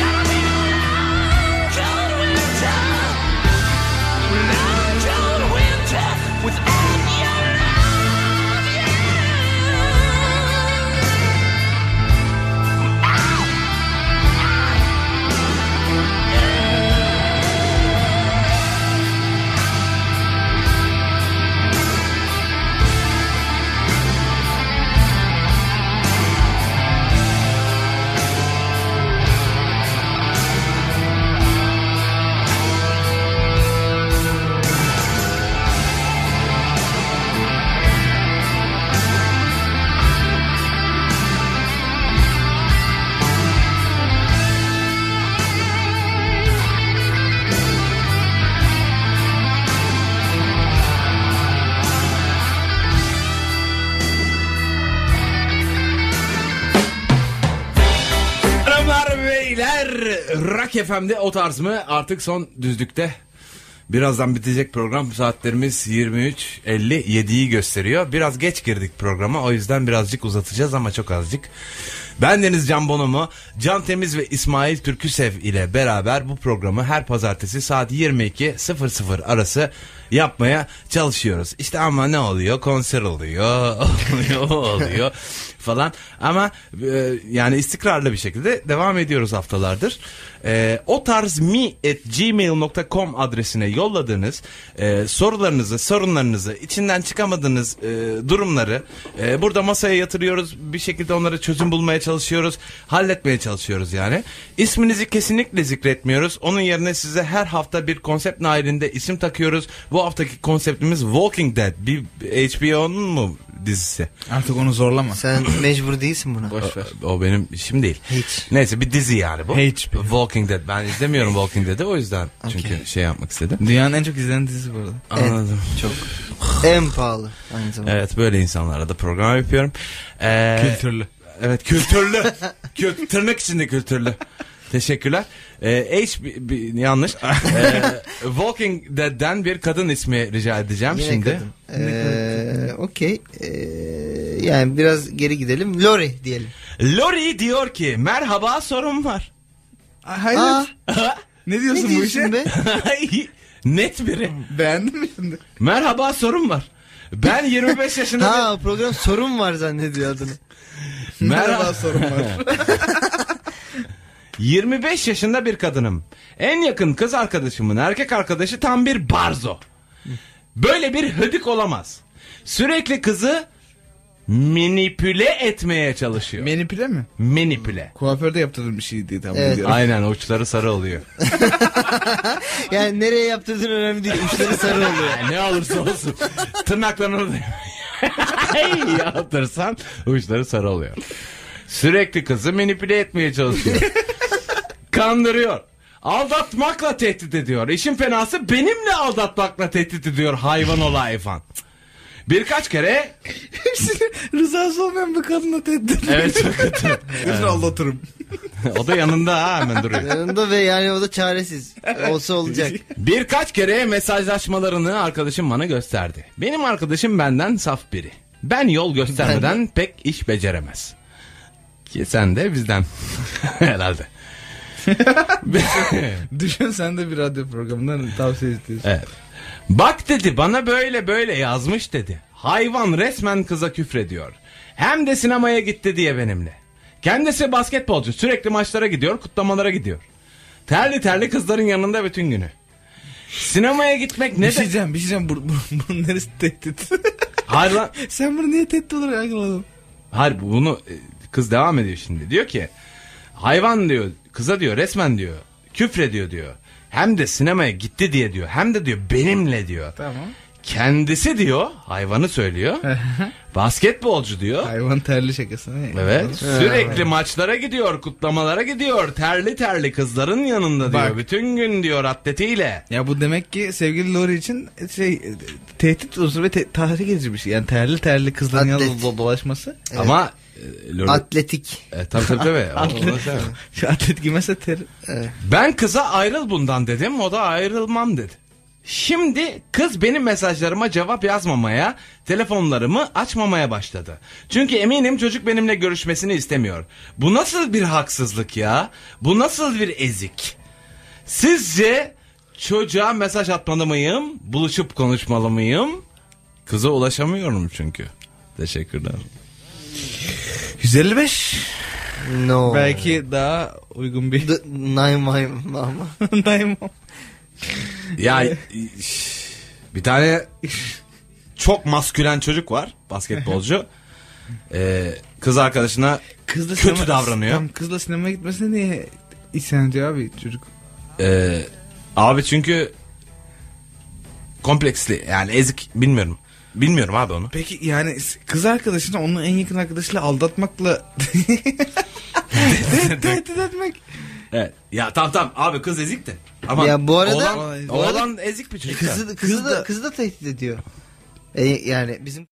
Oh,
Rock FM'de o tarz mı? Artık son düzlükte. Birazdan bitecek program. Saatlerimiz 23.57'yi gösteriyor. Biraz geç girdik programa. O yüzden birazcık uzatacağız ama çok azıcık. Ben Deniz Can Bonomo, Can Temiz ve İsmail Türküsev ile beraber bu programı her pazartesi saat 22.00 arası yapmaya çalışıyoruz. İşte ama ne oluyor? Konser oluyor, oluyor, o oluyor falan. Ama e, yani istikrarlı bir şekilde devam ediyoruz haftalardır. E, o tarz mi at gmail.com adresine yolladığınız e, sorularınızı, sorunlarınızı, içinden çıkamadığınız e, durumları e, burada masaya yatırıyoruz. Bir şekilde onlara çözüm bulmaya çalışıyoruz. Halletmeye çalışıyoruz yani. İsminizi kesinlikle zikretmiyoruz. Onun yerine size her hafta bir konsept nailinde isim takıyoruz. Bu haftaki konseptimiz Walking Dead. Bir HBO'nun mu dizisi?
e, Artık onu zorlama.
Sen mecbur değilsin buna.
Boş ver.
O benim işim değil.
Hiç.
Neyse bir dizi yani bu.
HP.
Walking Dead. Ben izlemiyorum Walking Dead'i o yüzden.
Okey.
Çünkü şey yapmak istedim.
Dünyanın en çok izlenen dizisi bu arada.
Anladım. Çok.
En pahalı aynı zamanda.
Evet böyle insanlara da program yapıyorum. Ee,
Kültürlü.
Evet kültürlü. Kü- tırnak içinde kültürlü. Teşekkürler. Ee, H bi- bi- yanlış. Ee, Walking Dead'den bir kadın ismi rica edeceğim
Yine
şimdi.
kadın. Ee, Okey. Ee, yani biraz geri gidelim. Lori diyelim.
Lori diyor ki merhaba sorum var.
Hayır.
Aa,
ne
ne
diyorsun bu işe?
diyorsun be?
Net biri.
Beğendin mi şimdi?
Merhaba sorum var. Ben 25 yaşında bir-
Ha program sorun var zannediyor adını.
Merhaba
sorun var.
25 yaşında bir kadınım. En yakın kız arkadaşımın erkek arkadaşı tam bir barzo. Böyle bir hıdık olamaz. Sürekli kızı manipüle etmeye çalışıyor.
Menipüle mi?
manipüle.
Kuaförde yaptığım bir şey diye tahmin
Evet.
ediyorum.
Aynen uçları sarı oluyor.
Yani nereye yaptırdığın önemli değil. Uçları sarı oluyor.
Yani ne olursa olsun. Tırnaklarını da yaptırsan uçları sarı oluyor. Sürekli kızı manipüle etmeye çalışıyor. Kandırıyor. Aldatmakla tehdit ediyor. İşin fenası benimle aldatmakla tehdit ediyor hayvan ola hayvan. Birkaç kere
Hepsini rızası olmayan bir kadına tehdit
evet çok kötü.
Hepsini aldatırım.
O da yanında ha hemen duruyor.
Yanında ve yani o da çaresiz. Olsa olacak.
Birkaç kere mesajlaşmalarını arkadaşım bana gösterdi. Benim arkadaşım benden saf biri. Ben yol göstermeden pek iş beceremez. Ki sen de bizden herhalde.
Düşün sen de bir radyo programından tavsiye istiyorsun.
Evet. Bak dedi bana böyle böyle yazmış dedi. Hayvan resmen kıza küfrediyor. Hem de sinemaya gitti diye benimle. Kendisi basketbolcu sürekli maçlara gidiyor kutlamalara gidiyor. Terli terli kızların yanında bütün günü. Sinemaya gitmek ne
bir şey
de...
diyeceğim, bir şey diyeceğim. Bu- bu- Bunun neresi tehdit?
Hayır lan-
sen bunu niye tehdit olarak algıladın?
Hayır bu- bunu e, kız devam ediyor şimdi. Diyor ki hayvan diyor kıza diyor resmen diyor küfrediyor diyor. Hem de sinemaya gitti diye diyor. Hem de diyor benimle diyor.
Tamam.
Kendisi diyor hayvanı söylüyor. basketbolcu diyor.
Hayvan terli şakası. ne?
Evet. Sürekli maçlara gidiyor, kutlamalara gidiyor. Terli terli kızların yanında diyor.
Bak.
Bütün gün diyor atletiyle.
Ya bu demek ki sevgili Lori için şey tehdit unsuru ve te- tahrik edici bir şey. Yani terli terli kızların yanında
Atlet.
do- dolaşması.
Ama e, Lord-
Atletik.
e, tabii tabii tabii. O- o- tabii.
Şu atlet giymezse ter...
Ben kıza ayrıl bundan dedim o da ayrılmam dedi. Şimdi kız benim mesajlarıma cevap yazmamaya, telefonlarımı açmamaya başladı. Çünkü eminim çocuk benimle görüşmesini istemiyor. Bu nasıl bir haksızlık ya? Bu nasıl bir ezik? Sizce çocuğa mesaj atmalı mıyım? Buluşup konuşmalı mıyım? Kıza ulaşamıyorum çünkü. Teşekkürler.
155.
No.
Belki daha uygun bir...
D- Nine Mile ama.
Daimon.
Ya bir tane çok maskülen çocuk var basketbolcu. Ee, kız arkadaşına
Kızla
Kötü davranıyor.
Tam kızla sinemaya gitmesine niye isyan ediyor abi çocuk?
e, abi çünkü kompleksli yani ezik bilmiyorum. Bilmiyorum abi onu.
Peki yani s- kız arkadaşını onun en yakın arkadaşıyla aldatmakla Te- tehdit etmek.
Evet. Ya tamam tamam abi kız ezik de. Ama
Ya bu arada-
oğlan,
bu arada-
oğlan ezik bir çocuk. da.
Kızı, kızı, da, kızı da tehdit ediyor. E, yani bizim